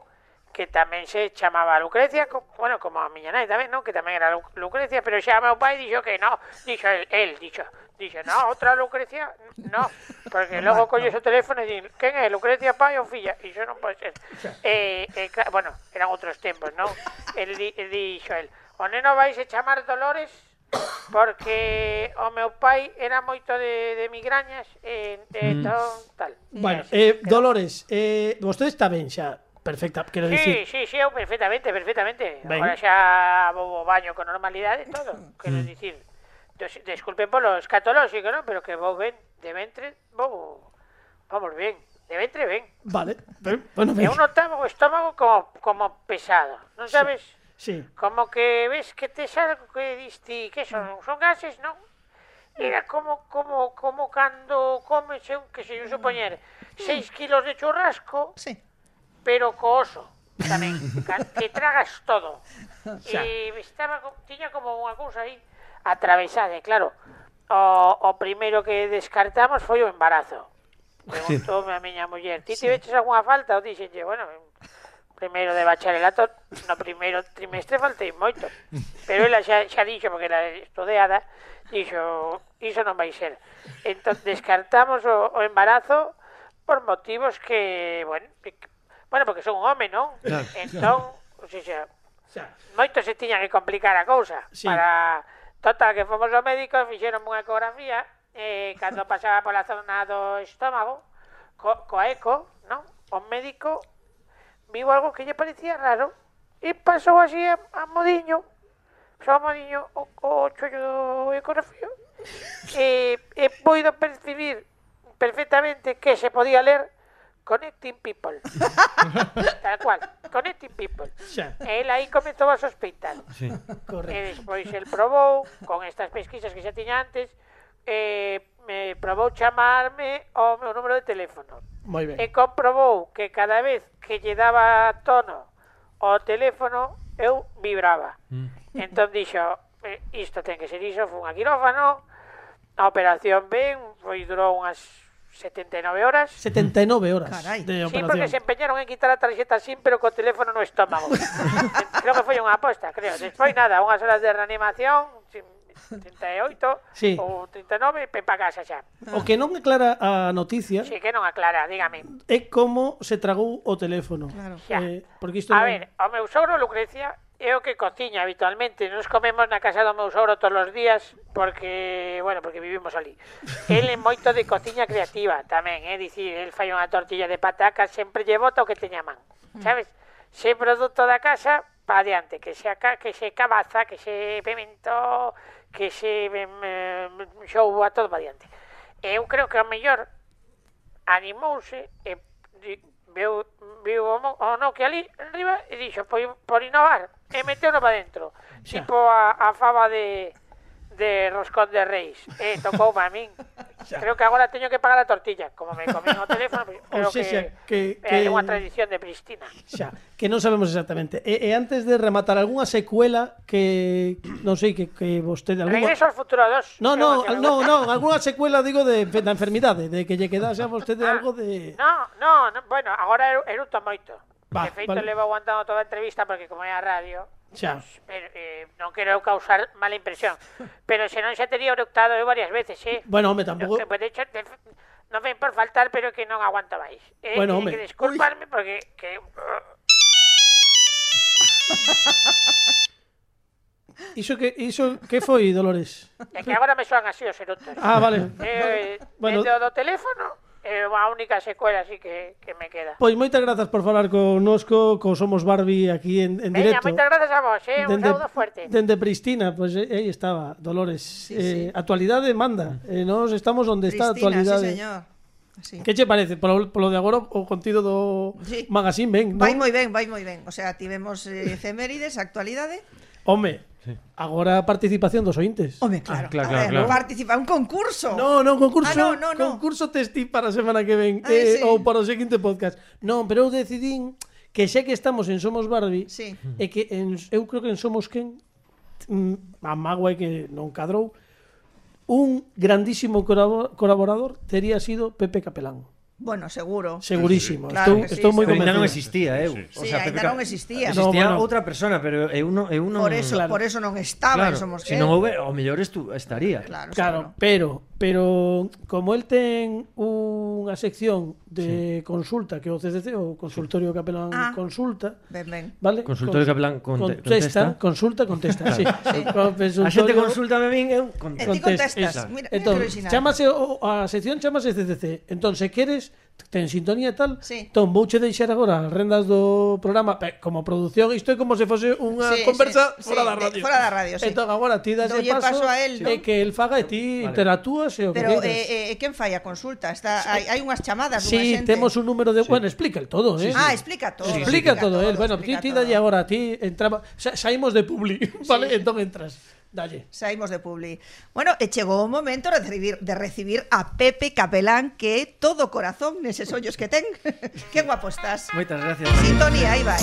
S10: que tamén se chamaba Lucrecia, co, bueno, como a miña nai tamén, non? Que tamén era Lu- Lucrecia, pero xa meu pai dixo que no, dixo el, el dixo, dixo, no, outra Lucrecia, no, porque logo colles o teléfono e din, quen é, Lucrecia, pai ou filla? E iso non pode ser. Eh, eh, cla- bueno, eran outros tempos, non? El, di- el dixo el, o neno vais a chamar Dolores porque o meu pai era moito de, de migrañas e, e ton, tal.
S2: Bueno,
S10: Así
S2: eh,
S10: que-
S2: Dolores, eh, vostede está ben xa. Perfecta, quero
S10: Sí,
S2: dicir.
S10: sí, sí, eu perfectamente, perfectamente.
S2: Ben.
S10: Agora xa vou ao baño con normalidade e todo. Quero dicir, dos- desculpen polo escatolóxico, non? Pero que vou ben, de ventre, vou... Vamos ben, de ventre ben.
S2: Vale.
S10: Eh,
S2: Pero, bueno, ben.
S10: Eu notaba o estómago como, como pesado, non sabes?
S2: Sí.
S10: Como que ves que tes algo que diste, que son, son gases, non? Era como, como, como cando comes, eu que sei, eu supoñer, 6 kilos de churrasco,
S7: Sí.
S10: pero co oso tamén, ca- que tragas todo. E estaba co- tiña como unha cousa aí atravesada, e claro. O, o primeiro que descartamos foi o embarazo. Preguntoume a miña muller, ti te veches algunha falta? Eu dixenlle, bueno, primeiro de bacharelato, no primeiro trimestre faltei moito. Pero ela xa, xa dixo, porque era estudeada, dixo, iso non vai ser. Entón, descartamos o, o embarazo por motivos que, bueno, que- bueno porque son un home, non? Entón, o sea,
S2: Xa.
S10: moito se tiña que complicar a cousa
S2: Sí.
S10: para total que fomos ao médico e fixeron unha ecografía eh, cando pasaba pola zona do estómago co, co eco, non? O médico viu algo que lle parecía raro e pasou así a, a modiño, só a modiño o, o chollo do ecografío, e, e poido percibir perfectamente que se podía ler Connecting People. Tal cual, Connecting People.
S2: Xa.
S10: El aí comezou a sospeitar.
S3: Sí.
S10: E despois el probou, con estas pesquisas que xa tiña antes, eh, me probou chamarme ao meu número de teléfono.
S2: Moi ben.
S10: E comprobou que cada vez que lle daba tono ao teléfono, eu vibraba.
S2: Mm.
S10: Entón dixo, "Eh, isto ten que ser iso, fun a quirófano, a operación ben, foi durou unhas 79 horas.
S2: 79 horas
S7: Carai.
S2: de
S10: Sí, porque se
S2: operación.
S10: empeñaron en quitar a tarxeta SIM, pero co teléfono no estómago. creo que foi unha aposta, creo. Despois nada, unhas horas de reanimación, sin- 38
S2: Sí.
S10: ou 39, pe pa casa xa.
S2: O que non aclara a noticia
S10: Si que non aclara, dígame.
S2: é como se tragou o teléfono.
S7: Claro.
S10: Xa.
S2: Eh, porque isto
S10: A
S2: non-
S10: ver, o meu sogro Lucrecia é o que cociña habitualmente. Nos comemos na casa do meu sogro todos os días porque, bueno, porque vivimos ali. El é moito de cociña creativa tamén, é dicir, el fai unha tortilla de patacas, sempre lle bota o que teña a man.
S2: Mm.
S10: Sabes? Se produto da casa, pa adiante, que se aca, que se cabaza, que se pimento, que se em, eh, xouba, todo pa adiante. Eu creo que o mellor animouse e di- veu, veu o, mo- o no que ali arriba e dixo por, por innovar e meteuno para dentro
S2: Xa.
S10: tipo a, a fava de de Roscón de Reis e tocou para min creo que agora teño que pagar a tortilla como me comí o teléfono pois
S2: O
S10: creo
S2: sea, xa,
S10: que,
S2: que-
S10: é
S2: que-
S10: unha tradición de Pristina
S2: Xa, que non sabemos exactamente. E, e antes de rematar algunha secuela que non sei que que vostede algunha
S10: Regreso ao futuro 2
S2: No, no, no, no, algunha secuela digo de da enfermidade, de que lle quedase a
S10: Ah.
S2: vostede algo de
S10: No, no, no, bueno, agora eru- eruto moito.
S2: Va,
S10: de feito,
S2: vale.
S10: levo aguantando toda a entrevista porque como é a radio,
S2: Xa.
S10: pois, pero, eh, non quero causar mala impresión. Pero senón xa tería eructado eu varias veces, eh?
S2: Bueno, home,
S10: Pero
S2: tampouco
S10: que, pues, de hecho, de, non ven por faltar, pero que non aguanto máis. Eh,
S2: Bueno,
S10: tiñe
S2: home.
S10: que disculparme porque... Que, eh,
S2: Iso que iso que foi Dolores.
S10: é que agora me soan así os eructos.
S2: Ah, vale.
S10: eh,
S2: Bueno.
S10: bueno, do teléfono, é eh, a única secuela así que, que me queda.
S2: Pois moitas grazas por falar connosco, co Somos Barbie aquí en, en
S10: Veña,
S2: directo.
S10: moitas gracias a vos, eh? Un saúdo fuerte.
S2: Dende Pristina, pois pues, aí estaba, Dolores. Sí, eh, actualidade manda. Eh, nós estamos onde está a
S7: Cristina, sí,
S2: actualidade.
S7: señor. Sí.
S2: Que che parece? Polo, polo de agora o contido do
S7: Sí.
S2: magazine ben,
S7: Vai
S2: non?
S7: moi ben, vai moi ben. O sea, tivemos eh, efemérides, actualidade.
S2: Home, agora a participación dos ointes.
S7: Home,
S3: Ah,
S7: claro,
S3: claro,
S7: a
S3: claro,
S7: ver,
S3: claro.
S7: participa un concurso.
S2: No, non, concurso,
S7: Ah, no, no, no.
S2: concurso testi para a semana que ven
S7: Ai,
S2: eh,
S7: sí.
S2: ou para o seguinte podcast. Non, pero eu decidín que xa que estamos en Somos Barbie,
S7: Sí.
S2: e que en, eu creo que en Somos Quen mm, a magua é que non cadrou, un grandísimo colabo- colaborador tería sido Pepe Capelán.
S7: Bueno, seguro.
S2: Segurísimo.
S7: Sí, sí, claro
S2: estou
S7: que sí,
S2: estou moi
S3: Pero ainda non
S2: convencido.
S3: existía, eu.
S7: Sí, ainda
S3: Pepe Ca-
S7: non existía.
S2: No,
S3: Existía
S2: bueno.
S3: outra persona, pero eu non... Eu non
S7: Por eso,
S2: claro.
S7: por eso non estaba,
S3: claro,
S7: claro. somos
S3: se
S7: que-
S3: non houve, o mellor estu, estaría.
S7: Claro,
S2: Claro,
S7: seguro.
S2: pero pero como el ten unha sección de consulta que o CCC o consultorio Capelán
S7: Ah.
S2: consulta,
S7: Ben, ben.
S2: ¿vale?
S3: Consultorio Capelán conte- contesta.
S2: consulta, contesta, sí.
S3: A xente
S2: Consultorio-
S3: consulta a min, eu
S7: E
S3: contesto.
S7: ti
S2: Contest-
S7: contestas.
S2: esa.
S7: Mira, mira que
S2: Entón,
S7: original.
S2: chamase o, a sección chamase CCC. Entón, se queres, ten sintonía e tal,
S7: Sí.
S2: entón vouche deixar agora as rendas do programa pe- como producción, isto é como se fose unha
S7: Sí,
S2: conversa
S7: sí,
S2: fora
S7: sí,
S2: da
S7: de-
S2: radio.
S7: fora da radio, sí.
S2: Entón, agora ti das
S7: Doulle
S2: paso,
S7: paso a él,
S2: e
S7: non?
S2: que el faga e ti interactúas e o que
S7: Pero
S2: queiras.
S7: eh, eh, quen fai a consulta? Está, hai, hai unhas chamadas dunha
S2: Sí,
S7: xente.
S2: temos un número de... Bueno, explica el todo, eh.
S7: Ah, explica todo.
S2: explica todo, él. Bueno, ti,
S7: explica
S2: ti
S7: todo.
S2: dalle agora, ti entramos... sa- Saímos de publi, vale? Entón entras. Dalle.
S7: Saímos de Publi. Bueno, e chegou o momento de recibir, de recibir a Pepe Capelán que é todo corazón neses ollos que ten. que guapo estás.
S3: Moitas gracias.
S7: Sintonía, aí vai.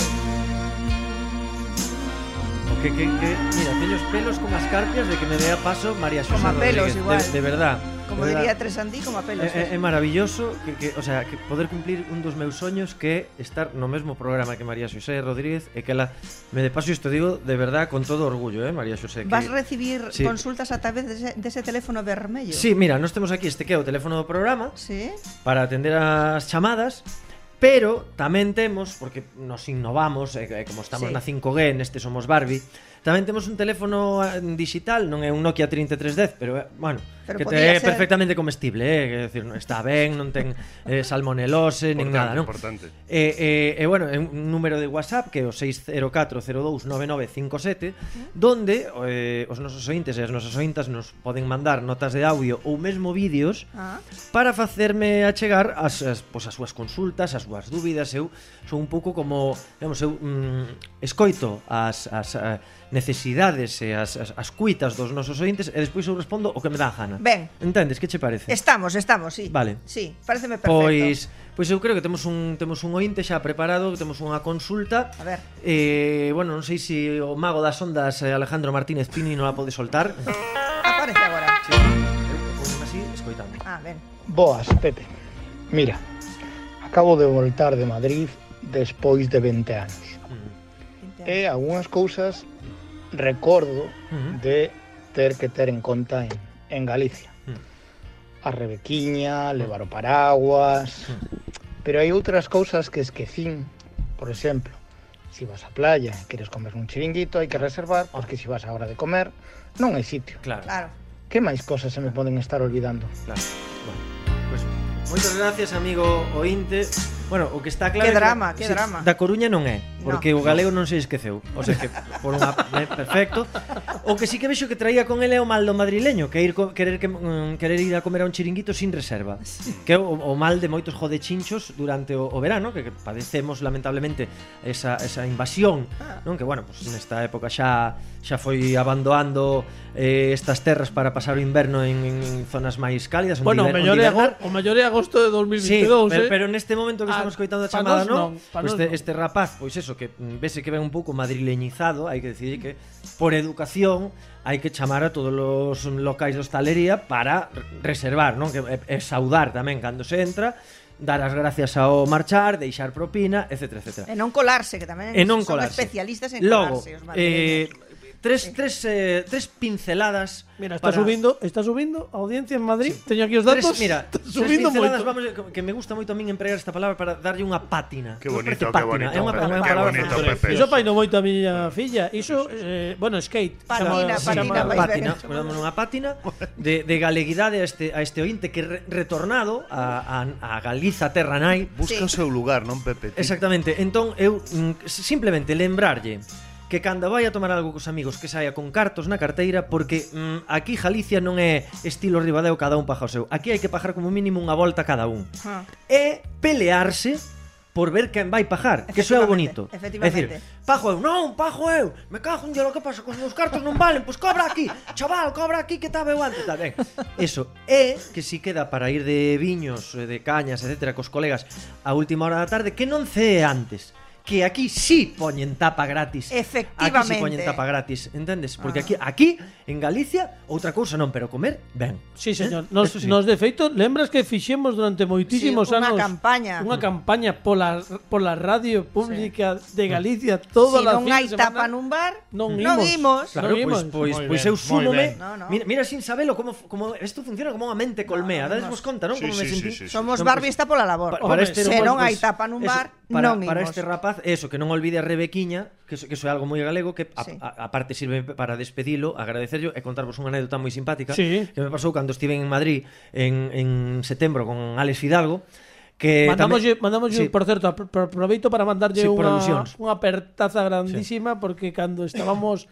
S3: Que, que, que, mira, teño os pelos como as carpias de que me dea paso María Xosé
S7: Como a pelos,
S3: Rodríguez,
S7: igual.
S3: De, de verdad.
S7: Como
S3: de verdad.
S7: diría Tres Andí, como a pelos. ¿eh?
S3: É, é- é maravilloso que, que, o sea, que poder cumplir un dos meus soños que é estar no mesmo programa que María Xosé Rodríguez e que ela me de paso isto digo de verdad con todo orgullo, eh, María Xosé. Que...
S7: Vas recibir
S3: Sí.
S7: consultas a través dese, dese teléfono vermello.
S3: Sí, mira, nós temos aquí este que é o teléfono do programa
S7: Sí.
S3: para atender as chamadas Pero tamén temos, porque nos innovamos, e, e como estamos
S7: Sí.
S3: na 5G, neste somos Barbie Tamén temos un teléfono ah, digital, non é un Nokia 3310, pero eh, bueno,
S7: Pero
S3: que
S7: podía
S3: te é
S7: ser.
S3: perfectamente comestible, eh, quer decir, non está ben, non ten eh, salmonelose, nin
S4: Importante,
S3: nada, non?
S4: importante.
S3: E, e, e bueno, é un número de WhatsApp que é o 604029957 Donde eh, os nosos ointes e as nosas ointas nos poden mandar notas de audio ou mesmo vídeos
S7: Ah.
S3: Para facerme achegar as, as, pois, as súas consultas, as súas dúbidas Eu sou un pouco como, digamos, eu mm, escoito as, as eh, necesidades e as, as, as cuitas dos nosos ointes E despois eu respondo o que me dá a gana
S7: Ben.
S3: Entendes, que che parece?
S7: Estamos, estamos, sí.
S3: Vale. Pues
S7: Sí, pareceme perfecto.
S3: Pois, pois eu creo que temos un temos un ointe xa preparado, que temos unha consulta.
S7: A ver.
S3: Eh, bueno, non sei se o mago das ondas eh, Alejandro Martínez Pini non a pode soltar.
S7: Aparece agora.
S3: Sí. Eu poño así, escoitando.
S7: Ah, ben.
S11: Boas, Pepe. Mira, acabo de voltar de Madrid despois de Eh, 20 anos.
S3: Eh.
S11: E algunhas cousas recordo
S3: Ujú.
S11: de ter que ter en conta en, en Galicia.
S3: Ujú.
S11: A rebequiña, levar o paraguas... Pero hai outras cousas que esquecín. Por exemplo, si vas á playa e queres comer un chiringuito, hai que reservar, porque si vas á hora de comer, non hai sitio.
S3: Claro.
S7: Claro.
S11: Que máis cosas se me poden estar olvidando?
S3: Claro. Bueno, pues, moitas gracias, amigo ointe. Bueno, o que está claro
S7: Que
S3: é
S7: drama, que drama.
S3: Da Coruña non é, porque o
S7: No.
S3: galego non se esqueceu. O sea que por unha eh, perfecto. O que sí que vexo que traía con ele é o mal do madrileño, que ir co- querer que mm, querer ir a comer a un chiringuito sin reserva. Que é o, o mal de moitos jodechinchos durante o, o verano, que, que padecemos lamentablemente esa esa invasión,
S2: Ah.
S3: non? Que bueno, pues nesta época xa xa foi abandoando eh, estas terras para pasar o inverno en, en, en zonas máis cálidas, onde
S2: Bueno, o
S3: hiber-
S2: mellor,
S3: onde
S2: é
S3: hibernar.
S2: ago- o mellor é agosto de 2022,
S3: Sí, pero,
S2: eh?
S3: pero neste momento que
S2: Ah,
S3: estamos coitando a
S2: pa
S3: chamada,
S2: nós
S3: non?
S2: non, pa
S3: Pois
S2: nós
S3: este,
S2: non.
S3: este rapaz, pois eso, que mm, vese que ven un pouco madrileñizado, hai que decidir que por educación hai que chamar a todos os locais de hostalería para re- reservar, non? Que é, é saudar tamén cando se entra, dar as gracias ao marchar, deixar propina, etcétera, etcétera.
S7: E non colarse, que tamén
S3: E non
S7: son
S3: colarse.
S7: especialistas en
S3: Logo,
S7: colarse os
S3: eh,
S7: madrileños.
S3: tres, tres, eh, tres pinceladas
S2: Mira, está
S3: para-
S2: subindo, está subindo a audiencia en Madrid. Teño aquí os datos.
S3: Tres, mira,
S2: está
S3: tres
S2: subindo
S3: pinceladas,
S2: moito.
S3: vamos, que- que me gusta moito a min empregar esta palabra para darlle unha pátina.
S4: Qué
S3: Non parece
S4: bonito, qué
S3: pátina,
S4: bonito,
S3: É unha,
S4: Pepe,
S3: unha
S4: qué
S3: palabra
S4: bonito,
S3: francesa.
S4: Pepe.
S2: Iso paino moito a miña filla. Iso, eh, bueno, skate.
S7: Patina,
S2: Chama-
S7: patina,
S2: chama-
S7: vai ver.
S3: pátina, ponemos unha pátina de, de galeguidade a este, a este ointe que re, retornado a, a, a Galiza Terra Nai
S4: Busca
S7: Sí.
S4: o seu lugar, non, Pepe? Ti-
S3: Exactamente, entón eu mm, simplemente lembrarlle que cando vai a tomar algo cos amigos que saia con cartos na carteira porque mm, aquí Galicia non é estilo Ribadeo cada un paja o seu. Aquí hai que pajar como mínimo unha volta cada un.
S7: Ah.
S3: É pelearse por ver quen vai pajar, que iso é o bonito.
S7: Efectivamente,
S3: É
S7: efectivamente.
S3: dicir, pajo eu, non, pajo eu, me cago en lo que pasa, cos meus cartos non valen, pois cobra aquí, chaval, cobra aquí que estaba eu antes, tal, ben. Eso, é que si queda para ir de viños, eh, de cañas, etcétera, cos colegas a última hora da tarde, que non cee antes, que aquí sí poñen tapa gratis. Aquí sí
S7: Efectivamente. Ah.
S3: poñen tapa gratis, entendes? Porque aquí aquí en Galicia outra cousa non, pero comer, ben.
S2: Sí,
S3: Eh,
S2: señor. Nos,
S3: eso sí.
S2: nos de feito, lembras que fixemos durante moitísimos
S7: Sí, unha
S2: anos
S7: campaña.
S2: unha campaña pola, pola radio pública de Galicia toda
S7: si
S2: la
S7: non hai tapa nun bar,
S2: non
S7: non
S2: imos.
S7: imos.
S2: Lo
S3: Claro, pois,
S2: vimos.
S3: pois,
S6: Moi
S3: pois
S6: ben,
S3: eu
S6: moi
S3: súmome
S6: ben.
S7: No, no.
S3: Mira, mira sin sabelo como, como Isto funciona como unha mente colmea
S7: No, no,
S3: Dades vos conta, non?
S4: Sí,
S3: como me
S4: sí,
S3: sentí
S4: sí, sí, sí.
S7: Somos
S3: Non,
S7: Barbie
S3: pois-
S7: está pola labor.
S3: Pa-
S2: Hombre,
S7: se
S3: pois,
S7: non
S3: pois,
S7: hai tapa nun
S3: eso,
S7: bar,
S3: pues para,
S7: non
S3: Para
S7: imos.
S3: este rapaz, eso, que non olvide a Rebequiña Que iso, que iso é algo moi galego Que a-
S7: Sí.
S3: a- aparte sirve para despedilo Agradecerlo e contarvos unha anécdota moi simpática
S2: Sí.
S3: Que me pasou cando estive en Madrid En, en setembro con Alex Fidalgo que
S2: Mandámoslle,
S3: Eh, tamén-
S2: mandámoslle
S3: Sí.
S2: por certo, apro- aproveito para mandarlle
S3: Sí, por
S2: unha,
S3: alusións.
S2: unha apertaza grandísima porque cando estábamos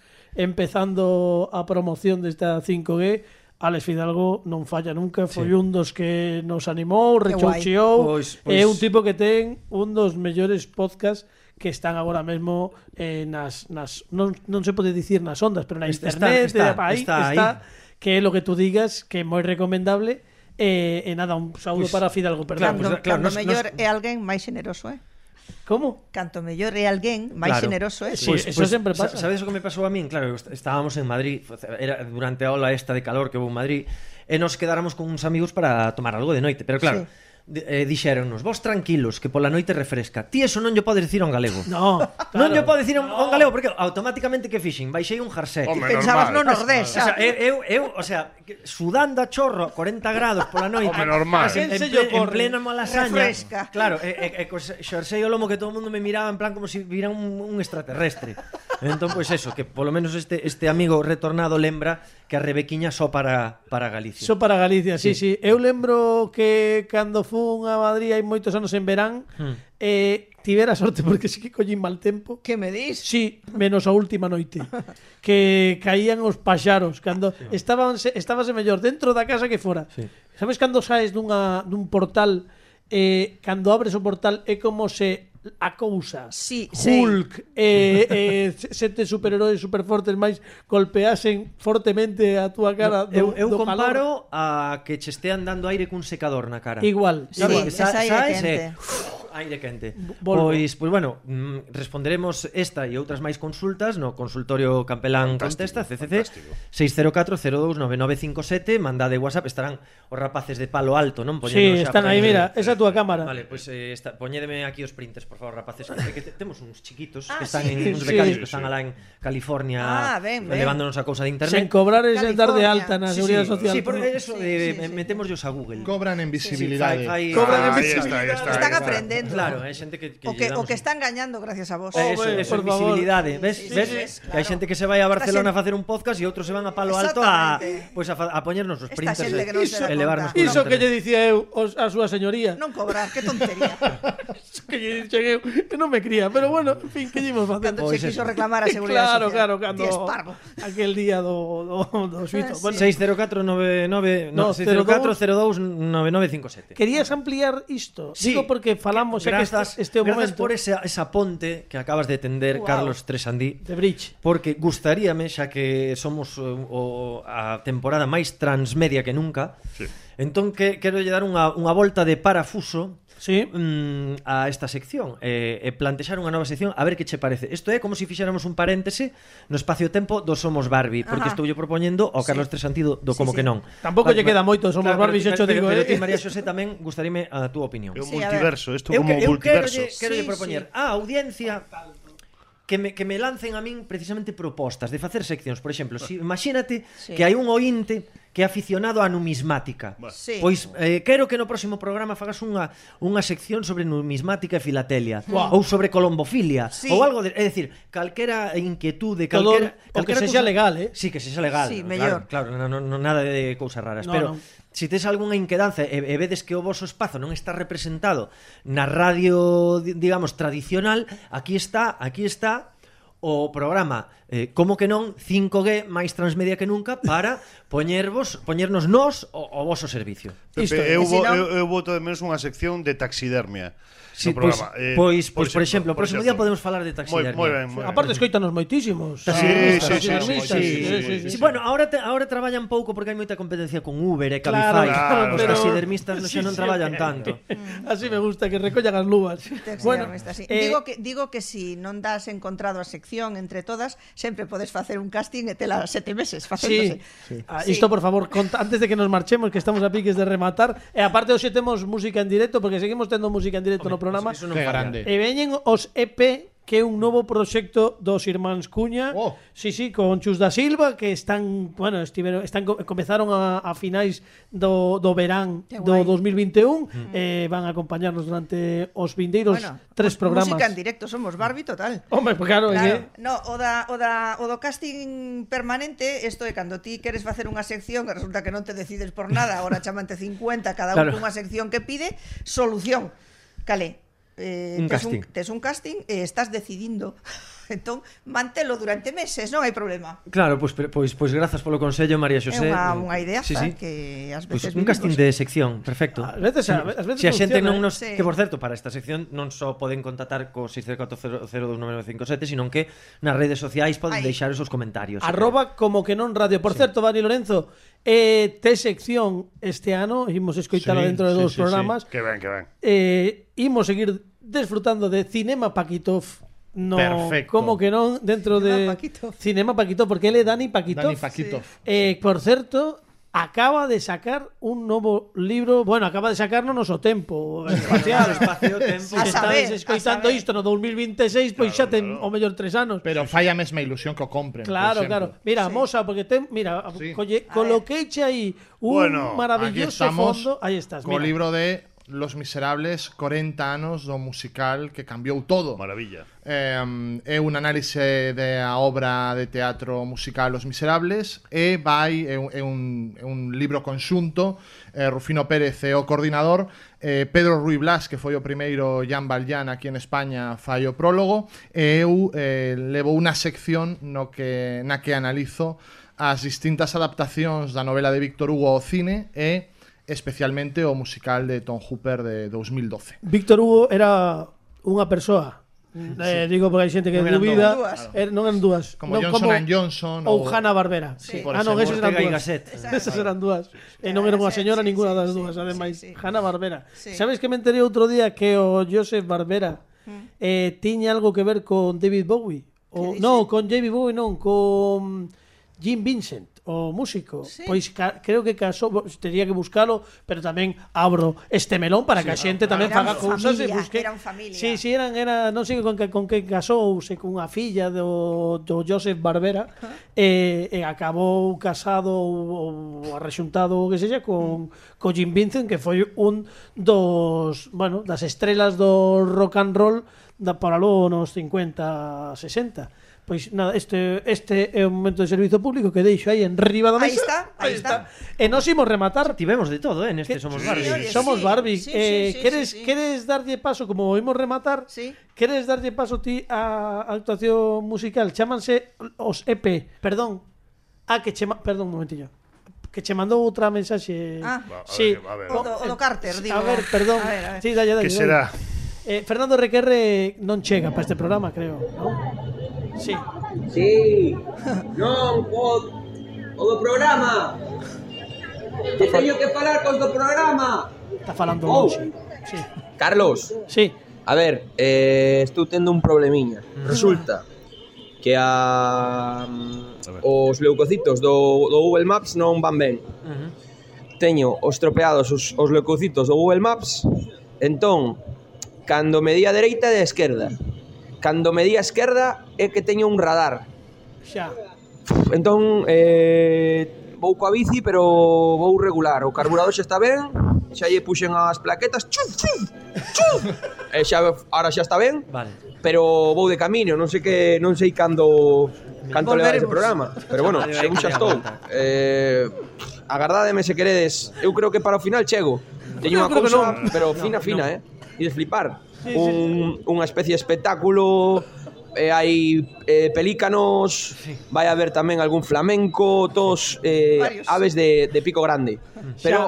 S2: empezando a promoción desta 5G, Alex Fidalgo non falla nunca, foi
S3: Sí.
S2: un dos que nos animou,
S7: Que guai.
S2: rechoucheou,
S3: Pois-
S2: é
S3: pois-
S2: un tipo que ten un dos mellores podcasts que están agora mesmo eh, nas, nas non, non se pode dicir nas ondas, pero na
S3: Está-
S2: internet,
S3: está-
S2: eh, aí
S3: está aí.
S2: que é lo que tú digas, que é moi recomendable, eh, e nada, un saúdo
S3: Pois,
S2: para Fidalgo, perdón.
S3: claro,
S7: Cando,
S3: pois, claro,
S7: cando
S3: nos-
S7: mellor
S3: nos-
S7: é alguén máis generoso, eh?
S2: Como?
S7: Canto mellor é alguén máis
S3: Claro.
S7: generoso é.
S2: Sí, eso sempre
S3: Pois, sa-
S2: pasa.
S3: Sabes o que me pasou a min? Claro, est- estábamos en Madrid, era durante a ola esta de calor que hubo en Madrid, e nos quedáramos con uns amigos para tomar algo de noite, pero claro,
S7: Sí.
S3: di- eh, dixéronnos vos tranquilos que pola noite refresca ti eso non lle podes dicir a un galego
S2: no
S3: non lle podes dicir a un, a un galego porque automáticamente que fixen baixei un jarsé
S7: Hombre, Pensabas normal. no
S3: o
S7: nordés,
S3: sea,
S7: xa.
S3: eu, eu, eu, o sea que- sudando a chorro a 40 grados pola noite
S4: Hombre, normal.
S3: en, en,
S4: Quen
S3: ple-
S4: se lle
S3: en
S4: ocorre?
S3: plena malasaña
S7: Refresca.
S3: claro e, e, e cos xarsei o lomo que todo o mundo me miraba en plan como se si vira un, un extraterrestre entón pois pues eso que polo menos este este amigo retornado lembra que a Rebequiña só para para Galicia
S2: Só para Galicia, sí,
S3: Sí.
S2: sí, Eu lembro que cando fun a Madrid hai moitos anos en verán,
S3: Hmm.
S2: eh, tivera sorte porque sí que collín mal tempo.
S7: Que me dis?
S2: Sí, menos a última noite que caían os paxaros cando estaban estábase mellor dentro da casa que fora.
S3: Sí.
S2: Sabes cando saes dunha dun portal eh, cando abres o portal é como se a cousa
S7: Sí, sei.
S2: Hulk eh, eh, se- sete superheróis superfortes máis golpeasen fortemente a túa cara
S3: eu,
S2: do,
S3: eu
S2: do calor.
S3: comparo a que che estean dando aire cun secador na cara.
S2: Igual,
S3: Sabes
S7: Sí,
S3: que
S7: es aire
S3: saes
S7: quente.
S3: e, uff, aire quente.
S2: volvo.
S3: Pois, pois bueno, mm, responderemos esta e outras máis consultas no consultorio Campelán Contesta, CCC, 604-029957, mandade WhatsApp, estarán os rapaces de palo alto, non?
S2: Sí, están aí,
S3: poñendo-
S2: mira, esa é a túa cámara.
S3: Vale, pois eh, está, poñédeme aquí os printers, por favor, rapaces, que te, temos uns chiquitos
S7: Ah,
S3: que están
S7: sí.
S3: en uns
S2: Sí.
S3: becarios que
S2: Sí,
S3: están alá en California
S7: Ah, ben, ben.
S3: levándonos a cousa de internet.
S2: Sen cobrar e sen dar de
S7: California.
S2: alta na Seguridade
S3: sí,
S2: Social.
S3: Sí, por eso
S7: Sí,
S3: de,
S7: sí, sí.
S3: metémosllos a Google.
S6: Cobran en visibilidad.
S3: Sí, fai- fai-
S2: Cobran en
S4: Ahí
S2: visibilidad.
S4: está, ahí está, ahí
S7: Están
S4: está.
S7: aprendendo.
S3: Claro, hai xente que que
S7: O que,
S3: lle
S7: o
S3: damos
S7: que está engañando gracias a vos.
S3: un- Eso,
S2: Joder,
S3: eso,
S2: por favor.
S3: visibilidade. Ves,
S7: Sí, sí,
S3: ves?
S7: sí,
S3: Que
S7: claro.
S3: hai xente que se vai a Barcelona a
S7: xente-
S3: facer un podcast e outros se van a Palo Alto a
S7: Exactamente.
S3: pois a, fa- a poñernos os
S7: Esta
S3: printers
S7: xente que non se dá
S3: e ¿eh? elevarnos.
S7: conta.
S3: con
S2: Iso que lle
S3: internet.
S2: dicía eu os- a súa señoría.
S7: Non cobrar, que tontería.
S2: Iso que lle dixen eu, que non me cría, pero bueno, en fin, que lle imos facer?
S7: Cando
S3: Pois
S7: se quiso
S3: eso.
S7: reclamar a seguridade
S2: Claro, claro,
S7: social.
S2: cando
S7: Ti es parvo.
S2: aquel día do do do xuízo.
S3: Ah,
S7: sí.
S2: Bueno,
S3: 60499
S2: No,
S3: no, 604-029957.
S2: querías ampliar isto?
S3: Sí.
S2: Digo porque falamos xa que
S3: Grazas,
S2: este, este é o
S3: grazas
S2: momento
S3: por esa, esa ponte que acabas de tender,
S2: Wow.
S3: Carlos Tresandí.
S2: de bridge.
S3: Porque gustaríame, xa que somos eh, o, a temporada máis transmedia que nunca, sí. entón que, quero lle dar unha, unha volta de parafuso
S2: Sí.
S3: mm, a esta sección eh, e plantexar unha nova sección a ver que che parece. Isto é como se si fixáramos un paréntese no espacio-tempo do Somos Barbie, porque
S7: Ajá.
S3: estou yo propoñendo ao Carlos Tresantido do
S7: Sí,
S3: Como
S7: sí.
S3: que non.
S2: Tampouco lle
S3: Ma-
S2: queda moito, Somos
S3: pero
S2: Barbie,
S3: ti-
S2: xa cho
S3: pero-
S2: digo,
S3: pero
S2: eh.
S3: ti, María Xosé, tamén gustaríame a túa opinión.
S4: É un
S7: Sí, a ver.
S4: multiverso, isto
S3: Eu,
S4: como
S3: que,
S4: un
S3: eu quero
S4: multiverso.
S3: lle, quero
S7: Sí,
S3: lle propoñer sí.
S7: sí.
S3: a audiencia que me, que me lancen a min precisamente propostas de facer seccións, por exemplo, si imagínate sí.
S7: Sí.
S3: que hai un ointe que é aficionado á numismática.
S7: Sí.
S3: Pois eh, quero que no próximo programa fagas unha unha sección sobre numismática e filatelia
S2: Guau.
S3: ou sobre colombofilia
S7: Sí.
S3: ou algo de, é dicir, calquera inquietude,
S2: Todo o
S3: calquera,
S2: que
S3: calquera
S2: sexa legal, eh.
S3: Sí, que sexa legal.
S7: Sí,
S3: no,
S7: mellor.
S3: Claro, claro no, no, no, nada de cousas raras,
S2: No,
S3: pero
S2: non.
S3: Se tes algunha inquedanza e, e vedes que o voso espazo non está representado na radio, di- digamos, tradicional, aquí está, aquí está o programa eh, como que non 5G máis transmedia que nunca para poñervos, poñernos nós o, o voso servicio.
S4: Pepe,
S2: Isto,
S4: eu,
S7: e se
S4: vo-
S7: non-
S4: eu, eu voto de menos unha sección de taxidermia.
S3: Sí,
S4: no
S3: pois,
S4: programa. Eh,
S3: pois, pois, por exemplo, o próximo día podemos falar de taxidermia.
S4: Moi, moi ben, moi ben.
S2: Aparte escoítanos moitísimos.
S4: Sí,
S2: taxidermistas,
S4: sí, sí,
S2: taxidermistas,
S4: sí, sí, sí,
S3: Sí, bueno, ahora te, ahora traballan pouco porque hai moita competencia con Uber e
S2: Claro,
S3: Cabify.
S2: claro,
S3: Os
S2: pero-
S3: taxidermistas no
S2: Sí,
S3: xa non
S2: sí,
S3: traballan
S2: ok.
S3: tanto.
S2: Así me gusta que recollan as luvas.
S7: Bueno, sí.
S2: eh,
S7: digo que digo que si non das encontrado a sección entre todas, sempre podes facer un casting e tela sete meses
S2: Sí.
S7: facéndose.
S2: Ah,
S7: Sí.
S2: Isto, por favor, conta, antes de que nos marchemos, que estamos a piques de rematar. E aparte, hoxe temos música en directo, porque seguimos tendo música en directo no programa.
S3: Eso non
S6: Qué
S3: falla.
S6: grande.
S2: E veñen os EP que é un novo proxecto dos irmáns Cuña.
S6: Oh.
S2: Sí, sí, con Chus da Silva que están, bueno, estiveron, están co- comezaron a, a finais do, do verán
S7: Que
S2: do
S7: guai.
S2: 2021 eh, van a acompañarnos durante os vindeiros
S7: Mm. Bueno,
S2: tres programas.
S7: Música en directo somos Barbie total.
S2: Hombre, pues claro, eh.
S7: Claro,
S2: é que-
S7: no, o da, o da, o do casting permanente, isto é cando ti queres facer unha sección e resulta que non te decides por nada, agora chamante 50 cada
S3: Claro.
S7: claro. unha sección que pide, solución. Cale, eh,
S3: Un
S7: tes,
S3: casting.
S7: un, tes un casting e estás decidindo. Entón, mantelo durante meses, non hai problema.
S3: Claro, pois pues, pois pois grazas polo consello María
S7: É
S3: Xosé. Eh,
S7: unha, unha idea
S3: sí, sí.
S7: que ás
S3: Pois
S7: veces
S3: un casting
S7: vivimos.
S3: de sección, perfecto.
S2: Ás veces- ás veces
S3: Se a xente
S2: funciona,
S3: non nos,
S7: eh. Sí.
S3: que por certo, para esta sección non só poden contactar co 604002957, sino que nas redes sociais poden
S7: Ai.
S3: deixar esos comentarios.
S2: arroba como que non radio. Por certo, Dani Lorenzo, eh, te sección este ano, imos escoitala
S4: Sí,
S2: dentro de
S4: sí,
S2: dos
S4: sí,
S2: programas.
S4: Sí. Que ben, que ben.
S2: eh, imos seguir desfrutando de Cinema Paquitov. No,
S6: Perfecto.
S2: como que non dentro
S7: Cinema
S2: de
S7: Paquitov.
S2: Cinema Paquitov porque ele é Dani Paquitov.
S6: Dani Paquitov.
S2: Eh, por certo, acaba de sacar un nuevo libro. Bueno, acaba de sacarnos noso tempo espacial.
S3: espacio tempo.
S2: Se
S6: A saber,
S2: está escoitando isto no 2026, e pois xa ten o mellor tres anos.
S6: Pero falla mesma ilusión que o compren.
S2: Claro, claro. Mira, moza, porque ten, mira, colle, coloqueiche aí un
S6: bueno, aquí
S2: maravilloso
S6: estamos
S2: fondo. Aí estás,
S6: co
S2: mira.
S6: libro de Los Miserables, 40 anos do musical que cambiou todo.
S4: Maravilla.
S6: Eh, é un análise da obra de teatro musical Los Miserables e vai é un, é un, é un libro conxunto eh, Rufino Pérez é o coordinador eh, Pedro Ruy Blas, que foi o primeiro Jan Valjean aquí en España fai o prólogo e eu eh, levo unha sección no que, na que analizo as distintas adaptacións da novela de Víctor Hugo ao cine e especialmente o musical de Tom Hooper de 2012
S2: Víctor Hugo era unha persoa. Eh, digo porque hai xente que
S6: Non eran
S2: dubida,
S6: dúas.
S2: er, non eran dúas.
S6: Como
S2: non,
S6: Johnson and Johnson
S2: ou
S6: ou-
S2: Hanna-Barbera.
S6: Sí.
S2: Ah, non,
S6: Por
S2: esas eran
S6: Ortega y
S2: dúas.
S6: Gasset.
S2: Esas eran Eh, dúas. E non era unha señora ninguna das dúas, ademais. Hanna-Barbera. Sabes que me enterei outro día que o Joseph Barbera
S7: Mm.
S2: eh, tiña algo que ver con David Bowie? O, non, con David Bowie non, con Jim Vincent, o músico. Pois ca- creo que casou, bo- tería que buscalo, pero tamén abro este melón para que a xente tamén
S7: Eran
S2: faga cousas e
S7: familia,
S2: busque.
S7: eran familia.
S2: Sí, sí, eran, era, non sei con que, con que casouse cunha filla do, do Joseph Barbera e, e acabou casado ou, ou arrexuntado o que sexa con, co Jim Vincent que foi un dos, bueno, das estrelas do rock and roll da para logo nos 50, 60. Pois nada, este este é un momento de servizo público que deixo aí en riba da
S7: Ahí
S2: mesa.
S7: está, ahí está.
S2: E nos imos rematar.
S3: Tivemos de todo, eh, neste Somos Barbie.
S7: señores,
S2: Somos
S7: sí,
S2: Barbie.
S7: sí,
S2: eh,
S7: sí, sí,
S2: queres,
S7: sí, sí.
S2: queres darlle paso, como imos rematar,
S7: Sí.
S2: queres darlle paso ti a a actuación musical? Chámanse os EP, perdón, a que che... ma- Perdón, un momentillo. Que che mandou outra mensaxe.
S7: Ah.
S4: Va, a
S2: sí.
S4: ver, a ver.
S7: O do, o do Carter, digo. eh.
S2: A ver, perdón.
S7: A ver, a ver.
S2: Sí, dalle, dalle,
S4: Que
S2: dalle.
S4: será?
S2: Eh, Fernando Requerre non chega para este programa, creo. ¿no? Sí.
S8: Sí. Non, o, o do programa. Que teño que falar con do programa.
S2: Está falando
S8: Oh.
S2: longe. Sí.
S8: Carlos.
S2: Sí.
S8: A ver, eh, estou tendo un problemiña. Resulta que a, os leucocitos do, do Google Maps non van ben. Teño os tropeados os, os leucocitos do Google Maps. Entón, cando me di a dereita e a esquerda. Cando me di a esquerda é que teño un radar.
S2: Xa.
S8: Entón, eh, vou coa bici, pero vou regular. O carburador xa está ben, xa lle puxen as plaquetas, chuf, chuf, chuf. E xa, ahora xa está ben,
S3: Vale.
S8: pero vou de camiño, non sei que non sei cando canto leva ese
S3: Volveremos.
S8: programa, pero bueno,
S3: Vale,
S8: según xa
S3: venga,
S8: estou.
S3: aguanta.
S8: Eh, agardádeme se queredes. Eu creo que para o final chego.
S2: Eu
S8: Teño unha
S2: creo que
S8: cousa,
S2: non.
S8: pero
S3: No,
S8: fina
S3: no.
S8: fina, eh. E de flipar.
S2: Sí, sí,
S8: un, unha especie de espectáculo eh, hai eh, pelícanos vai haber tamén algún flamenco todos eh,
S7: Varios.
S8: aves de, de pico grande pero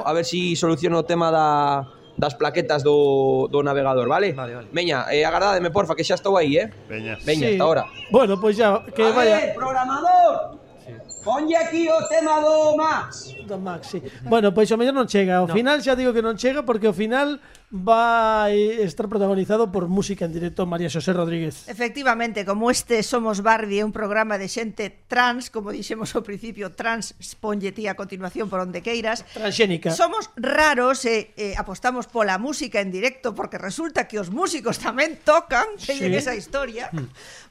S2: Mm. Xa.
S8: a ver si soluciono o tema da, das plaquetas do, do navegador, vale?
S3: Vale, vale.
S8: Meña, eh, agardádeme, porfa, que xa estou aí, eh?
S4: Veña.
S8: Veña,
S2: Sí.
S8: hasta ahora.
S2: Bueno, pois xa, que vaya...
S8: programador! Ponlle aquí o tema do Max.
S2: Do Max, sí. Bueno, pues pois o mellor non chega. Ao
S3: No.
S2: final xa digo que non chega porque ao final vai estar protagonizado por música en directo María Xosé Rodríguez.
S7: Efectivamente, como este Somos Barbie é un programa de xente trans, como dixemos ao principio, trans, ponlle ti a continuación por onde queiras,
S2: Transxénica.
S7: Somos raros e eh, apostamos pola música en directo porque resulta que os músicos tamén tocan, teñen
S2: Sí.
S7: esa historia.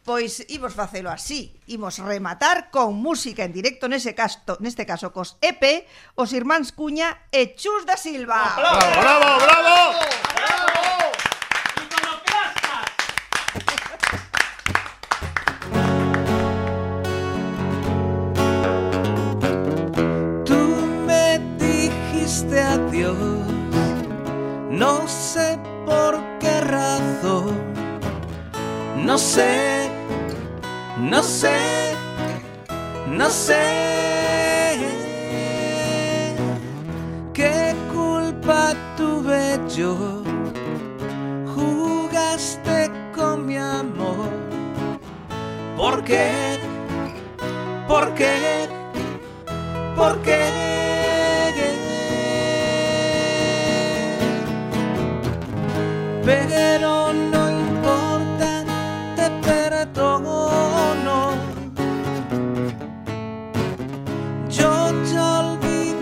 S7: Pois imos facelo así, imos rematar con música en directo nese caso, neste caso cos EP, os irmáns Cuña e Chus da Silva.
S4: ¡Bravo, bravo!
S12: Tú me dijiste adiós, no sé por qué razón, no sé, no sé, no sé qué culpa tuve yo. Jugaste con mi amor, ¿por qué? ¿Por qué? porque pero no importa te perdono yo te olvidé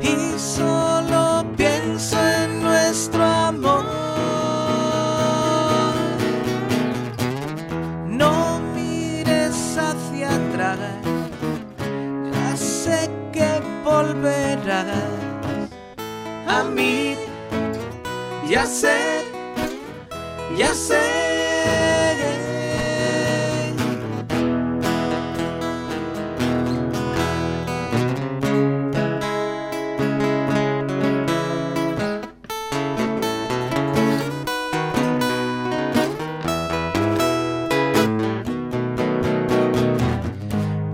S8: y solo pienso en nuestro amor. No mires hacia atrás, ya sé que volverás a mí. Ya sé, ya sé.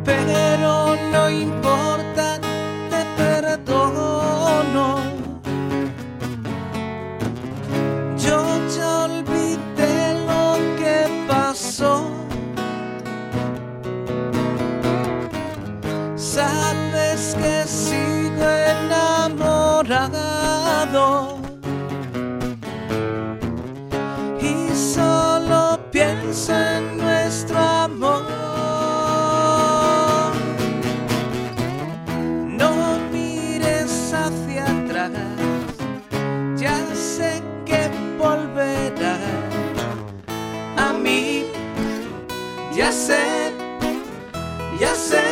S8: pero no importa, te perdono. Yo ya olvidé lo que pasó. Sabes que sigo enamorado. Y solo pienso en nuestro amor. No mires hacia atrás, ya sé que volverás a mí. Ya sé, ya sé.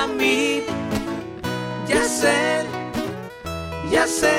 S8: A mí, ya sé, ya sé.